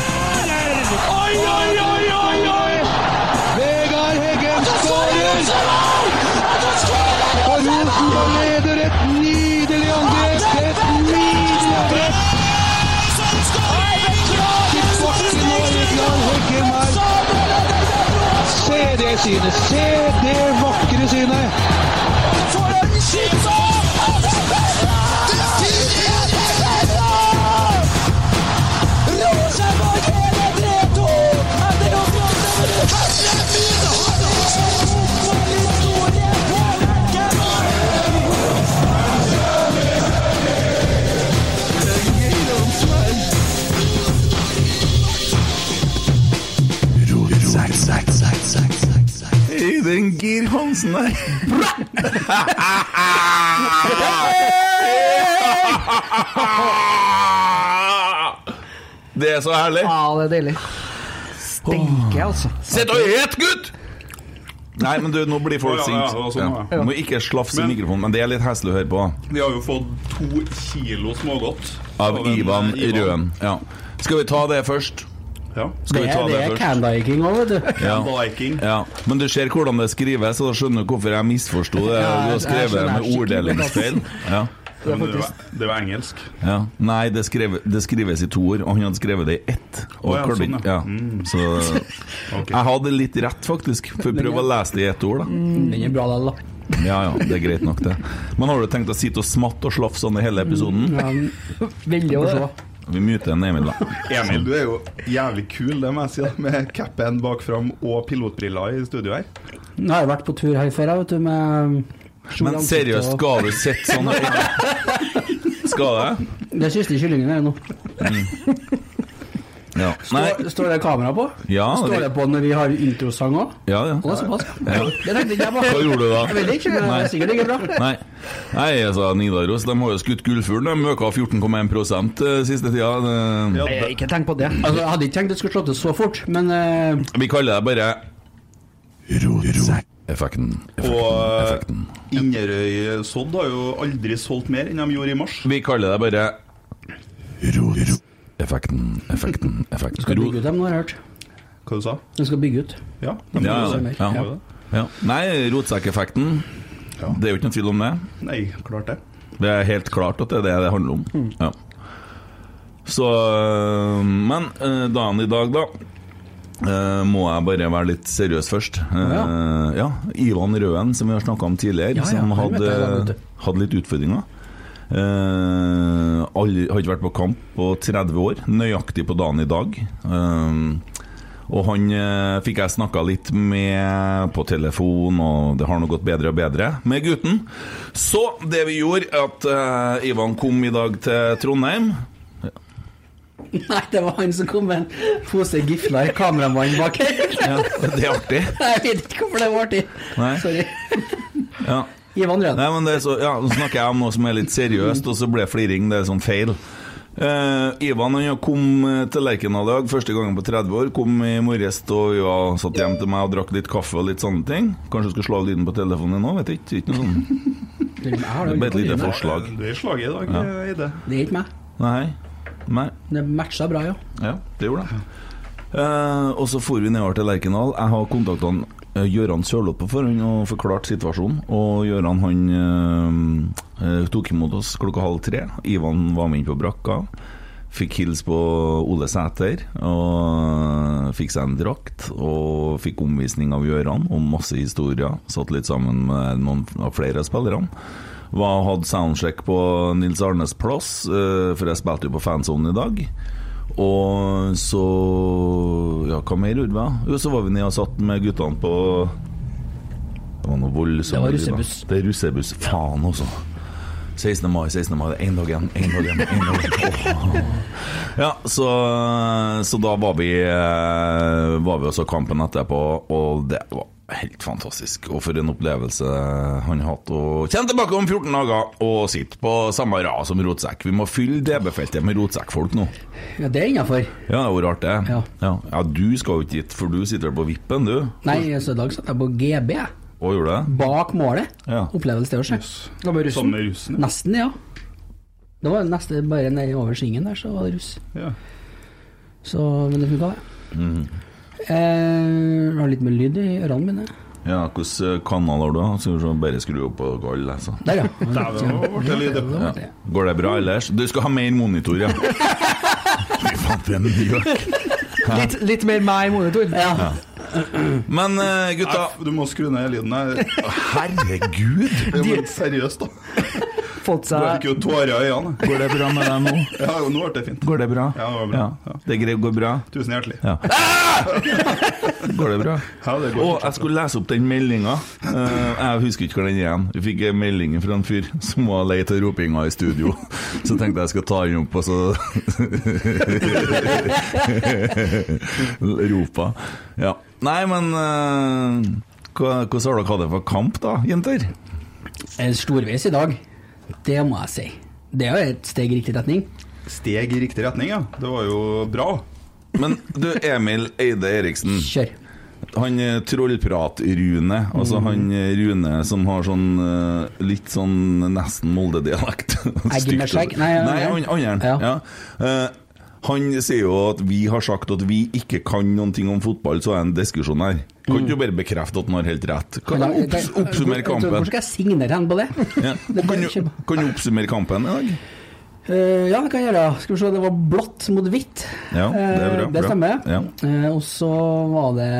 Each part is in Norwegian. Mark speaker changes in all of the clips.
Speaker 1: Oi, oi, oi, oi, oi! Vegard Heggen skårer! Og Rosenborg leder et nydelig angrep! Et nydelig angrep! Tilbake nå, Vegard Heggen her. Se det synet! Se det vakre synet!
Speaker 2: Øyvind Gir Hansen der. Det er så herlig.
Speaker 3: Ja, det er deilig. Stinker, altså.
Speaker 2: Sitt og et, gutt! Nei, men du, nå blir folk
Speaker 4: Å, ja, ja,
Speaker 2: sinte.
Speaker 4: ja, sånn, ja.
Speaker 2: Du Må ikke slafse i
Speaker 4: Men-
Speaker 2: mikrofonen, men det er litt heslig å høre på. da.
Speaker 4: Vi har jo fått to kilo smågodt.
Speaker 2: Av
Speaker 4: en,
Speaker 2: Ivan
Speaker 4: eh,
Speaker 2: Røen. Ja. Skal vi ta det først?
Speaker 4: Ja.
Speaker 2: Skal
Speaker 3: Det,
Speaker 2: vi ta
Speaker 3: det
Speaker 2: det
Speaker 3: er
Speaker 2: først?
Speaker 3: candyking òg, vet du.
Speaker 2: Ja.
Speaker 4: Viking.
Speaker 2: Ja, Men du ser hvordan det skrives, så da skjønner du hvorfor jeg misforsto
Speaker 3: Ja,
Speaker 2: det. Du har
Speaker 3: jeg
Speaker 2: skrevet det
Speaker 3: skjønner
Speaker 2: med
Speaker 3: skikkelig
Speaker 2: orddelingsfeil. Ja.
Speaker 4: Ja, men Det var, det var engelsk.
Speaker 2: Ja. Nei, det, skrev, det skrives i to ord, og han hadde skrevet det i ett.
Speaker 4: Å,
Speaker 2: Og
Speaker 4: ja,
Speaker 2: klarte
Speaker 4: sånn,
Speaker 2: ikke-
Speaker 4: ja.
Speaker 2: ja. Så
Speaker 4: Ok.
Speaker 2: jeg hadde litt rett, faktisk. For prøv å lese det i ett ord, da.
Speaker 3: Den er bra, den, da.
Speaker 2: Ja ja, det er greit nok, det. Men har du tenkt å sitte og smatte og slafse sånn i hele episoden?
Speaker 3: Ja, men- Veldig å se.
Speaker 2: Vi myter en Emil, da.
Speaker 4: Emil, du er jo jævlig kul, det må jeg si, da, med capen bak fram og pilotbriller i studio her.
Speaker 3: Nå har jeg vært på tur her før, jeg, vet du, med stor
Speaker 2: Men
Speaker 3: ansikt
Speaker 2: seriøst,
Speaker 3: og-
Speaker 2: skal du sitte sånn? Skal det?
Speaker 3: Det er siste kyllingen her nå.
Speaker 2: Ja. Nei.
Speaker 3: Står, står det kamera på?
Speaker 2: Ja,
Speaker 3: står
Speaker 2: det-
Speaker 3: det på når vi har introsang òg?
Speaker 2: Ja, ja.
Speaker 3: Det er såpass.
Speaker 2: Ja.
Speaker 3: Det tenkte ikke jeg på.
Speaker 2: Hva gjorde du da?
Speaker 3: Jeg vet ikke, men det
Speaker 2: Nei.
Speaker 3: er sikkert ikke bra.
Speaker 2: Nei, Nei altså, Nidaros de har jo skutt gullfuglen. De øka 14,1 eh, siste tida. Eh, Det-
Speaker 4: Ja,
Speaker 3: Jeg
Speaker 4: det,
Speaker 3: ikke tenkt på det. Altså, jeg hadde ikke tenkt det skulle slå til så fort, men eh,
Speaker 2: Vi kaller det bare Effekten.
Speaker 4: og eh, Inderøy Sodd har jo aldri solgt mer enn de gjorde i mars.
Speaker 2: Vi kaller det bare Effekten, effekten, effekten.
Speaker 3: du skal bygge ut dem, nå har jeg hørt.
Speaker 4: Hva du sa
Speaker 3: Du skal bygge ut.
Speaker 4: Ja, de
Speaker 2: Ja,
Speaker 4: gjorde
Speaker 2: ja,
Speaker 4: det.
Speaker 2: ja.
Speaker 4: Gjorde det.
Speaker 2: ja. Nei, rotsekkeffekten.
Speaker 4: Ja.
Speaker 2: Det er jo ikke noen tvil om det.
Speaker 4: Nei, klart det. Mm.
Speaker 2: Det er helt klart at det er det det handler om. Ja. Så øh, Men øh, dagen i dag, da. øh, må jeg bare være litt seriøs først.
Speaker 3: ja.
Speaker 2: Eh, ja, Ivan Røen, som vi har snakka om tidligere,
Speaker 3: Ja, ja,
Speaker 2: som
Speaker 3: han vet jeg, han
Speaker 2: hadde,
Speaker 3: vet
Speaker 2: hadde litt utfordringer. Eh, aldri, har ikke vært på kamp på 30 år, nøyaktig på dagen i dag. Eh, og han eh, fikk jeg snakka litt med på telefon, og det har nå gått bedre og bedre med gutten. Så det vi gjorde, at eh, Ivan kom i dag til Trondheim.
Speaker 3: Nei, det var han som kom med en pose gifler, kameramannen bak her.
Speaker 2: Ja, det er artig.
Speaker 3: Jeg vet ikke hvorfor det var artig.
Speaker 2: Nei.
Speaker 3: Sorry.
Speaker 2: Ja.
Speaker 3: Gi vandreren.
Speaker 2: Nei, men det er så, ja, Nå snakker jeg om noe som er litt seriøst, og så ble fliring det er sånn feil. Eh, Ivan han kom eh, til Lerkendal i dag, første gangen på 30 år. Kom i morges og vi var satt hjem til meg og drakk litt kaffe og litt sånne ting. Kanskje du skal slå av lyden på telefonen din nå, vet jeg ikke. ikke noe sånn.
Speaker 3: Jeg har det
Speaker 2: Det ble et
Speaker 3: aldri
Speaker 2: lite
Speaker 3: gjort.
Speaker 2: forslag.
Speaker 4: Du er i slaget i dag, Eide.
Speaker 3: Det er ikke meg.
Speaker 2: Nei. Nei.
Speaker 3: Det matcha bra, ja.
Speaker 2: Ja, det gjorde det. Eh, og så for vi nedover til Lerkendal. Jeg har kontakta han, eh, Gøran Sørloth på forhånd og forklart situasjonen. Og Gøran han eh, eh, tok imot oss klokka halv tre. Ivan var med inn på brakka. Fikk hilse på Ole Sæter. Og fikk seg en drakt. Og fikk omvisning av Gøran og masse historier. Satt litt sammen med noen av flere av spillerne. Var, hadde soundcheck på Nils Arnes plass, eh, for jeg spilte jo på fansonen i dag. Og så Ja, hva mer gjorde vi? Jo, så var vi nede og satt med guttene på Det var noe
Speaker 3: Det
Speaker 2: voldsomt.
Speaker 3: var russebuss.
Speaker 2: Det er russebuss. Faen også. 16. mai, 16. mai. Én dag igjen, én dag igjen. En dag igjen. Åh. Ja, så, så da var vi, eh, var vi også kampen etterpå, og det var helt fantastisk. Og for en opplevelse han har hatt. Og kjenn tilbake om 14 dager og sitt på samme rad som rotsekk. Vi må fylle DB-feltet med rotsekkfolk nå.
Speaker 3: ja det er innafor.
Speaker 2: Ja, det er jo rart det.
Speaker 3: Ja.
Speaker 2: Ja. ja, du skal jo ikke dit, for du sitter vel på vippen, du?
Speaker 3: Nei, så i dag satt jeg på GB, jeg.
Speaker 2: Og gjorde det?
Speaker 3: bak målet.
Speaker 2: Ja.
Speaker 3: Opplevelse det å se. Da var
Speaker 4: Sammen med russen,
Speaker 3: Nesten, ja. Det var neste bare nede over svingen der, så var det russ.
Speaker 4: ja.
Speaker 3: Så, men det funka, det.
Speaker 2: Mhm.
Speaker 3: Eh, har litt med lyd i ørene mine.
Speaker 2: Ja, hvilken kanal har du? da? Skal vi se, bare skru opp og gå alle, altså.
Speaker 3: Der, ja.
Speaker 4: Dæven, nå ble det lyd.
Speaker 2: Ja. Går det bra ellers? Du skal ha mer monitor, ja. Fy faen, for en gjøk.
Speaker 3: Litt, mer meg i monitor. Ja.
Speaker 2: Men eh, gutta
Speaker 4: Nei, Du må skru ned lyden her.
Speaker 2: Herregud!
Speaker 4: Det er jo litt seriøst, da.
Speaker 3: Fått
Speaker 4: Du fikk jo tårer i øynene.
Speaker 2: Går det bra med deg nå?
Speaker 4: Ja, jo, nå ble det fint.
Speaker 2: Går det bra?
Speaker 4: Ja, det var bra. Ja.
Speaker 2: Det gre- går bra?
Speaker 4: Tusen hjertelig.
Speaker 2: Ja. Går det bra?
Speaker 4: Ja, det går
Speaker 2: Og jeg skulle lese opp den meldinga. Eh, jeg husker ikke hva den er igjen. Vi fikk en melding fra en fyr som var lei av ropinga i studio. Så tenkte jeg skal ta den opp, og så Ropa. Ja. Nei, men eh, hva- hvordan har dere hatt det for kamp, da, jenter?
Speaker 3: Storveis i dag. Det må jeg si. Det er jo et steg i riktig retning.
Speaker 4: Steg i riktig retning, ja. Det var jo bra.
Speaker 2: Men du, Emil Eide Eriksen.
Speaker 3: Kjør.
Speaker 2: Han eh, trollprat-Rune, altså
Speaker 3: Mm.
Speaker 2: han eh, Rune som har sånn eh, litt sånn nesten Molde-dialekt. altså.
Speaker 3: Eggen med skjegg? Nei, ja,
Speaker 2: Nei,
Speaker 3: ja.
Speaker 2: han andre.
Speaker 3: Ja.
Speaker 2: Ja. Eh, han sier jo at vi har sagt at vi ikke kan noen ting om fotball, så er det en diskusjon her.
Speaker 3: Mm.
Speaker 2: Kan ikke du bare bekrefte at han har helt rett? Kan du opps oppsummere
Speaker 3: Hvor
Speaker 2: kampen?
Speaker 3: skal jeg signere hen på det?
Speaker 2: Ja. Og Kan, du, kan du oppsummere kampen i dag?
Speaker 3: Eh, ja, det kan jeg gjøre. Skal vi se, det var blått mot hvitt.
Speaker 2: Ja, det er bra,
Speaker 3: Eh, det
Speaker 2: bra.
Speaker 3: stemmer.
Speaker 2: Ja.
Speaker 3: Eh, og så var det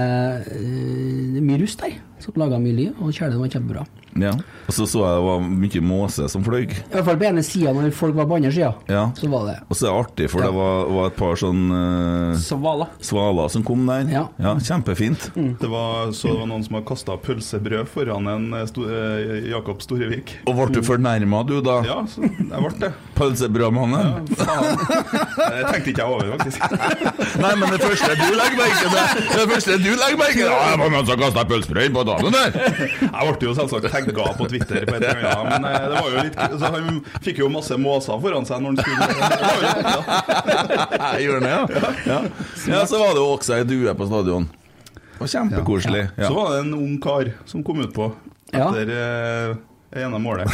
Speaker 3: eh, mye rust der, som laga mye liv, og kjæledyret var kjempebra.
Speaker 2: Ja. Og så så jeg det var mye måse som fløy.
Speaker 3: I hvert fall på ene sida, når folk var på andre sida,
Speaker 2: Ja.
Speaker 3: så var det
Speaker 2: Og så er det artig, for det var, var et par sånn eh,
Speaker 3: Svala.
Speaker 2: svaler som kom der.
Speaker 3: Ja.
Speaker 2: Kjempefint.
Speaker 4: Det var, så det var noen som hadde kasta pølsebrød foran en eh, sto, eh, Jakob Storevik.
Speaker 2: Og ble du fornærma, du, da?
Speaker 4: Ja, så jeg ble det.
Speaker 2: Pølsebrødmannen?
Speaker 4: Faen. Det tenkte ikke jeg over, faktisk.
Speaker 2: Nei, men det første du legger merke til Det første du legger merke til Ja, det var noen som kasta pølsebrød inn på damen der!
Speaker 4: Jeg ble jo selvsagt tagga på Twitter, på et eller annet, men eh, det var jo litt så Han fikk jo masse måser foran seg når han skulle det var jo litt artig, da.
Speaker 2: Jeg gjør det, ja. ja. Ja, så var det jo også ei due på stadion. Det var kjempekoselig.
Speaker 4: Så
Speaker 2: Ja.
Speaker 4: var det en ung kar som kom ut på
Speaker 3: Ja.
Speaker 4: etter eh, det ene målet.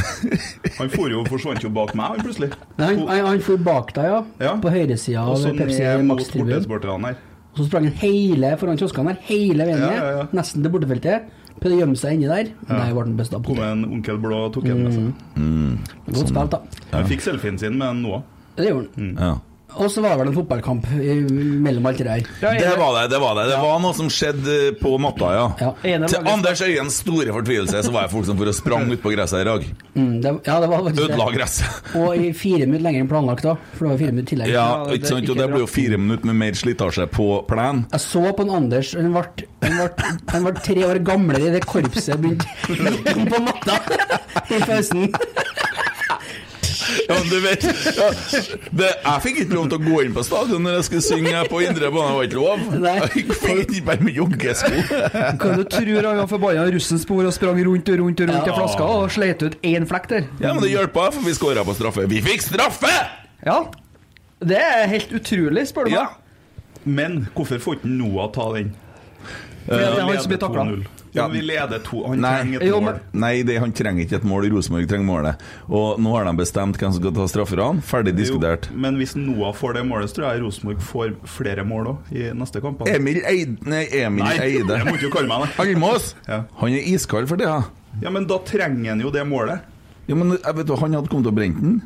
Speaker 4: Han for jo, forsvant jo bak meg, han plutselig.
Speaker 3: Nei, han, han, han for bak deg, ja.
Speaker 4: Ja.
Speaker 3: På høyresida
Speaker 4: Og
Speaker 3: av
Speaker 4: så
Speaker 3: Pepsi
Speaker 4: ned mot
Speaker 3: Max-tribunen.
Speaker 4: bortesupporterne her.
Speaker 3: Og så sprang han hele foran kioskene der, hele veien
Speaker 4: Ja,
Speaker 3: ned,
Speaker 4: ja, ja.
Speaker 3: nesten til bortefeltet. Prøvde å gjemme seg inni der. Der ble han besta på.
Speaker 4: Kom en onkel blå og
Speaker 3: Mm.
Speaker 4: tok en med seg.
Speaker 3: Godt spilt, da.
Speaker 4: Han fikk selfien sin med en Noah.
Speaker 3: Det gjorde
Speaker 4: Mm.
Speaker 3: han.
Speaker 2: Ja.
Speaker 3: Og så var det vel en fotballkamp eh, mellom alt det der.
Speaker 2: Det var det, det var det. Det var noe som skjedde på matta, ja.
Speaker 3: Ja.
Speaker 2: Til Anders Øyens store fortvilelse så var jeg folk som for å sprang ut på gresset i dag.
Speaker 3: Mm, det, ja, det var faktisk
Speaker 2: Ødela
Speaker 3: det.
Speaker 2: gresset.
Speaker 3: Og i fire minutter lenger enn planlagt, da. For det var fire minutter tillegg.
Speaker 2: Ja, ikke sant? Og det ble jo fire minutter med mer slitasje på plenen.
Speaker 3: Jeg så på en Anders, han ble, han ble, han ble tre år gamlere i det korpset begynte midt på natta i pausen.
Speaker 2: Ja, men du vet ja, det, Jeg fikk ikke lov til å gå inn på stadion når jeg skulle synge her på indre bane, det var ikke lov.
Speaker 3: Nei.
Speaker 2: Jeg fikk ikke bare med joggesko.
Speaker 5: Hva du tror han var forbanna russenspor og sprang rundt og rundt og rundt i flaska og sleit ut én flekk der?
Speaker 2: Ja, men det hjelpa, for vi skåra på straffe. Vi fikk straffe!
Speaker 5: Ja. Det er helt utrolig, spør du
Speaker 2: Ja.
Speaker 5: meg.
Speaker 4: Men hvorfor får ikke Noah ta den?
Speaker 5: For det er han
Speaker 4: Vi
Speaker 5: som blir
Speaker 4: leder
Speaker 5: takla.
Speaker 4: 2-0.
Speaker 2: Ja.
Speaker 4: Ja, vi leder to Han
Speaker 2: Nei.
Speaker 4: trenger
Speaker 5: Jo,
Speaker 4: et
Speaker 5: men-
Speaker 4: mål.
Speaker 2: Nei, det, han trenger ikke et mål. Rosenborg trenger målet. Og nå har de bestemt hvem som skal ta strafferne. Ferdig diskutert.
Speaker 4: Jo, Men hvis Noah får det målet, så tror jeg Rosenborg får flere mål òg i neste kamp. da.
Speaker 2: Emil Eide Nei, Emil
Speaker 4: Nei,
Speaker 2: Eide.
Speaker 4: det må ikke du kalle meg det.
Speaker 2: Almås!
Speaker 4: Ja.
Speaker 2: Han er iskald for det, ja.
Speaker 4: Ja, men da trenger han jo det målet.
Speaker 2: Ja, men jeg vet du, han hadde kommet til å brenne den.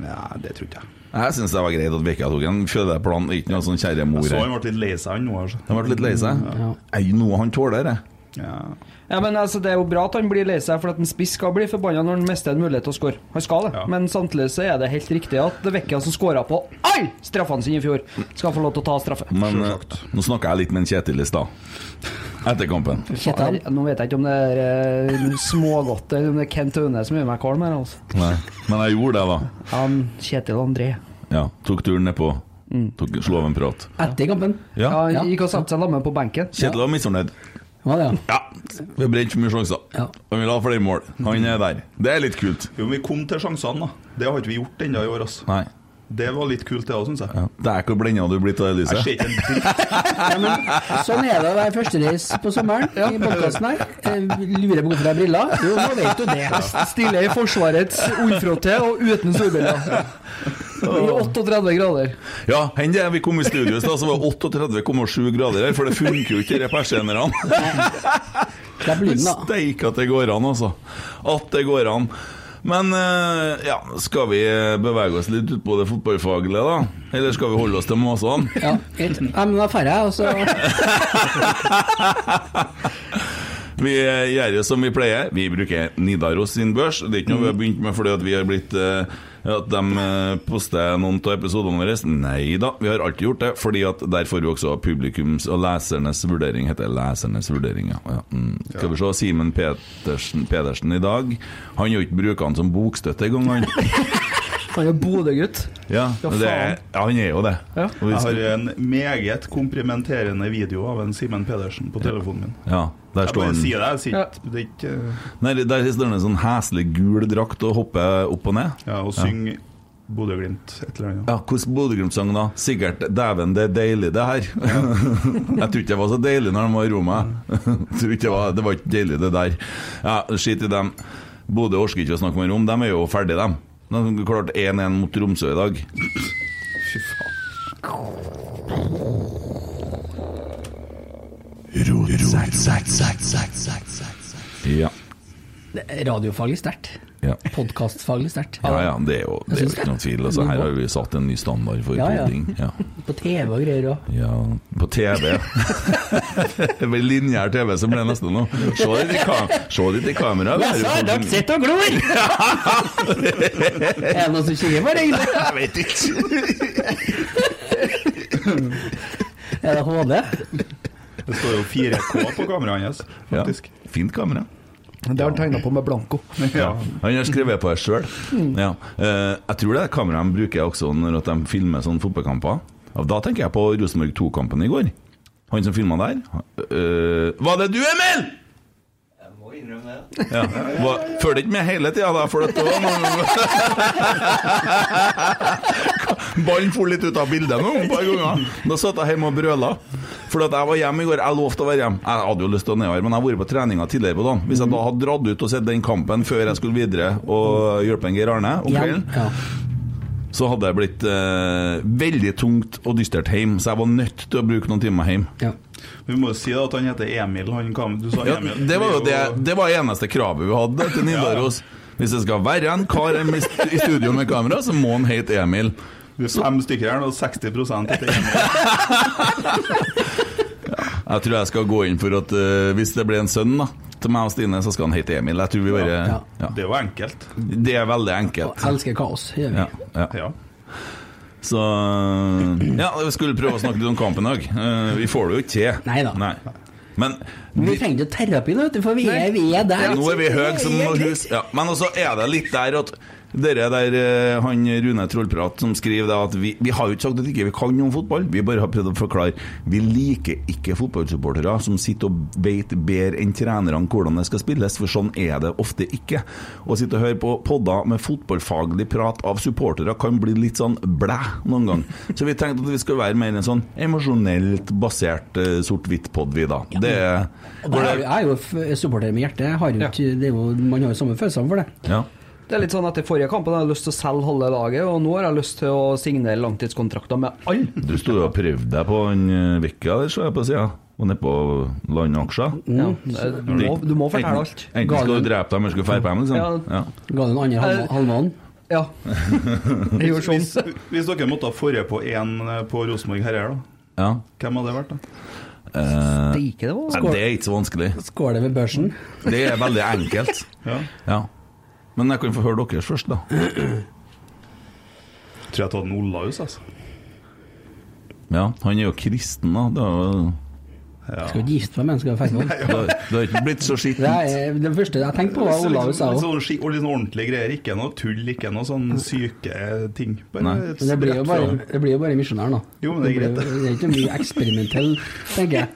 Speaker 4: Ja, det tror ikke jeg.
Speaker 2: Jeg syns det var greit at Vekka tok en fødeplan. Ikke noe sånn kjære mor.
Speaker 4: Jeg så
Speaker 2: her.
Speaker 4: han ble litt lei seg, han nå. Altså.
Speaker 2: Han ble litt lei seg. Er jo noe han tåler, det.
Speaker 4: Ja.
Speaker 5: Ja, men altså, Det er jo bra at han blir lei seg, for at en spiss skal bli forbanna når han mister en mulighet til å score. Han skal det.
Speaker 4: Ja.
Speaker 5: Men samtidig så er det helt riktig at det Vecchia som skåra på alle straffene sine i fjor, skal få lov til å ta straffe.
Speaker 2: Men eh, nå snakka jeg litt med en Kjetil i stad. Etter kampen.
Speaker 5: Kjetil, nå vet jeg ikke om det er eh, smågodt eller om det er Kent Aune som gjør meg kvalm her, altså.
Speaker 2: Nei. Men jeg gjorde det, da.
Speaker 5: Han Kjetil André.
Speaker 2: Ja, Tok turen nedpå.
Speaker 4: Mm.
Speaker 2: Tok, slo av en prat.
Speaker 3: Etter kampen.
Speaker 2: Ja.
Speaker 5: Ja, han
Speaker 3: Ja.
Speaker 5: gikk og satte seg sammen på benken.
Speaker 2: Kjetil var misfornøyd.
Speaker 3: Hva var det, ja?
Speaker 2: Ja. Vi har brent for mye sjanser.
Speaker 3: Ja.
Speaker 2: Han vil ha flere mål. Han er der. Det er litt kult.
Speaker 4: Jo, men vi kom til sjansene, da. Det har ikke vi gjort ennå i år. Altså.
Speaker 2: Nei.
Speaker 4: Det var litt kult, det òg, syns jeg.
Speaker 2: Ja. Det er ikke hvor blenda du blir av
Speaker 4: Jeg
Speaker 2: det
Speaker 4: ser
Speaker 2: lyset.
Speaker 4: ikke en dritt.
Speaker 3: ja men, sånn er det å være førstereis på sommeren i podkasten her. Eh, Lurer på hvorfor jeg har briller. Jo, nå vet du det.
Speaker 5: Stiller i Forsvarets ullfrotté og uten solbriller. I 38 grader.
Speaker 2: Ja, hen det. Vi kom i studio i stad, så var det 38,7 grader her, for det funker jo ikke, de persiennerne.
Speaker 3: Slipp lyden, da.
Speaker 2: Steike at det går an, altså. At det går an. Men eh, ja, skal vi bevege oss litt ut på det fotballfaglige, da? Eller skal vi holde oss til måsene?
Speaker 3: Ja, greit. Nei, men da drar jeg, og så
Speaker 2: Vi eh, gjør jo som vi pleier. Vi bruker Nidaros sin børs. Det er ikke
Speaker 5: Mm.
Speaker 2: noe vi har begynt med fordi at vi har blitt eh, At de eh, poster noen av episodene våre. Nei da, vi har alltid gjort det. Fordi at der får vi også publikums og lesernes vurdering. Heter det lesernes vurdering, ja. ja. Mm. Skal vi se, Simen Petersen, Pedersen i dag. Han er jo ikke bruker han som bokstøtte engang, han.
Speaker 5: Han er Bodø-gutt.
Speaker 2: Ja,
Speaker 5: Ja,
Speaker 2: det, er- ja, han er jo det.
Speaker 5: Ja.
Speaker 2: Og vi
Speaker 4: Jeg
Speaker 2: skal,
Speaker 4: har en meget komprimenterende video av en Simen Pedersen på telefonen min.
Speaker 2: ja, der
Speaker 4: Jeg
Speaker 2: står
Speaker 4: bare
Speaker 2: han.
Speaker 4: sier det. Jeg sier ikke det er ikke
Speaker 2: Nei, der står han i en sånn heslig gul drakt og hopper opp og ned.
Speaker 4: Ja, å synge Bodø-Glimt et eller annet.
Speaker 2: Ja, hvordan Bodø-Glimt-sang da? Sikkert 'Dæven, det er deilig, det her'. jeg tror ikke det var så deilig når de var i Roma.
Speaker 4: Mm.
Speaker 2: Jeg tror ikke det var, det var ikke deilig, det der. Ja, Skit i dem. Bodø orker ikke å snakke mer om. De er jo ferdige, dem. De klarte 1-1 mot Tromsø i dag.
Speaker 4: Fy faen.
Speaker 2: Ja.
Speaker 3: Radiofaglig sterkt.
Speaker 2: Ja.
Speaker 3: Podkastfaglig sterkt.
Speaker 2: Ja, ja, det er jo, det er jo ikke noen tvil. Altså, her har vi satt en ny standard for
Speaker 3: Ja, ja.
Speaker 2: podding. Ja.
Speaker 3: På TV og greier òg.
Speaker 2: Ja, på TV. det blir lineær TV som blir neste nå. Se litt i, kam se litt i kameraet.
Speaker 3: og glor! er det noen som kikker på deg?
Speaker 2: Jeg vet ikke.
Speaker 3: Er det HD?
Speaker 4: Det står jo 4K på kameraet hans,
Speaker 2: Ja,
Speaker 4: faktisk.
Speaker 2: fint kamera.
Speaker 5: Det har han tegna på med blanko.
Speaker 4: Ja.
Speaker 2: Han har skrevet på det sjøl. Ja. Eh, jeg tror det er kameraet de bruker også når at de filmer sånne fotballkamper. Ja, Da tenker jeg på Rosenborg 2-kampen i går. Han som filma der. eh, var det du, Emil?! Jeg må innrømme det. Ja. Var, følger ikke med hele tida, da, for at det var noe Ballen for litt ut av bildet nå et par ganger. Da satt jeg hjemme og brøla. For at jeg var hjemme i går. Jeg lovte å være hjemme. Jeg hadde jo lyst til å nedover, men jeg har vært på treninga tidligere på dagen. Hvis jeg da hadde dratt ut og sett den kampen før jeg skulle videre og hjelpe en Geir Arne om kvelden,
Speaker 3: Ja.
Speaker 2: så hadde det blitt eh, veldig tungt og dystert hjem, så jeg var nødt til å bruke noen timer hjem.
Speaker 3: ja.
Speaker 4: Vi må jo si da at han heter Emil. Han kan, du sa
Speaker 2: Ja,
Speaker 4: Emil.
Speaker 2: det var jo det,
Speaker 4: er
Speaker 2: det var eneste kravet vi hadde til Nidaros. Hvis det skal være en kar i st- i studio med kamera, så må han hete Emil.
Speaker 4: Vi er fem stykker her, og 60 heter Emil.
Speaker 2: Jeg tror jeg skal gå inn for at eh, hvis det blir en sønn da, til meg og Stine, så skal han hete Emil. Jeg tror vi bare
Speaker 3: Ja,
Speaker 2: ja.
Speaker 4: Det var enkelt.
Speaker 2: Det er veldig
Speaker 3: Og
Speaker 2: enkelt.
Speaker 3: elsker kaos. Gjør vi.
Speaker 2: Ja, ja.
Speaker 4: Ja.
Speaker 2: Så eh, Ja, vi skulle prøve å snakke litt om kampen i dag. Eh, Vi får det jo ikke til.
Speaker 3: Neida.
Speaker 2: Nei. Men
Speaker 3: Men vi trenger ikke terapi nå, vet du, for vi er, vi er der.
Speaker 5: sånn
Speaker 2: Nå er vi høye som
Speaker 3: Det er
Speaker 2: noen
Speaker 3: greit.
Speaker 2: hus. Ja, men også er det litt der at Dere der, eh, han Rune Trollprat som skriver da at vi, vi har jo ikke sagt at ikke vi ikke kan noe om fotball, vi bare har prøvd å forklare. Vi liker ikke fotballsupportere som sitter og vet bedre enn trenerne hvordan det skal spilles, for sånn er det ofte ikke. Å sitte og høre på podder med fotballfaglig prat av supportere kan bli litt sånn blæ noen gang. Så vi tenkte at vi skulle være mer en sånn emosjonelt basert eh, sort-hvitt-pod, vi da. Det er
Speaker 3: Og der er jo- Jeg er jo f- supporter med hjertet. Jeg har jo ikke, det er jo, man har jo samme følelsene for det.
Speaker 2: Ja.
Speaker 5: Det er litt sånn Etter forrige kampen hadde jeg lyst til å selge halve laget, og nå har jeg lyst til å signere langtidskontrakter med alle.
Speaker 2: Du sto jo og prøvde deg på han eh, Vekka der, så jeg på sida. Og nedpå landaksjer.
Speaker 5: Ja, Mm. du, må, du må fortelle alt.
Speaker 2: Enten, enten skal du drepe dem, eller skal du feire på dem, liksom.
Speaker 5: Ja.
Speaker 2: Ja.
Speaker 3: Ga du den andre halv-
Speaker 5: Eh,
Speaker 3: halvmånen?
Speaker 5: Ja. Jeg gjorde sånn.
Speaker 4: Hvis, hvis dere måtte ha forrige på én på Rosenborg herrer, da?
Speaker 2: ja.
Speaker 4: Hvem hadde det vært, da?
Speaker 2: Eh,
Speaker 5: Steike, det var
Speaker 2: nei, det er ikke så vanskelig.
Speaker 3: Skål det ved børsen.
Speaker 2: Det er veldig enkelt.
Speaker 4: Ja.
Speaker 2: Ja. Men jeg kan få høre deres først, da.
Speaker 4: Tror jeg hadde tatt en Olaus, altså.
Speaker 2: Ja, Han er jo kristen, da. Det er jo-
Speaker 3: Skal ikke gifte meg med en, skal jeg feire med den.
Speaker 2: Det har- det har ikke blitt så
Speaker 3: Det
Speaker 2: skittent.
Speaker 3: er det første jeg tenkte på, var
Speaker 4: Litt
Speaker 3: Olaus
Speaker 4: sånn-
Speaker 3: sa
Speaker 4: litt
Speaker 3: òg.
Speaker 4: sånn ski- og litt sånn ordentlige greier. Ikke noe tull, ikke noe sånn syke ting. Bare
Speaker 2: Nei.
Speaker 4: et
Speaker 3: Men det blir jo
Speaker 4: rett
Speaker 3: bare,
Speaker 4: fram.
Speaker 3: det blir jo bare misjonæren, da.
Speaker 4: Jo, men det er greit,
Speaker 3: blir jo- Det er ikke mye eksperimentell, tenker jeg.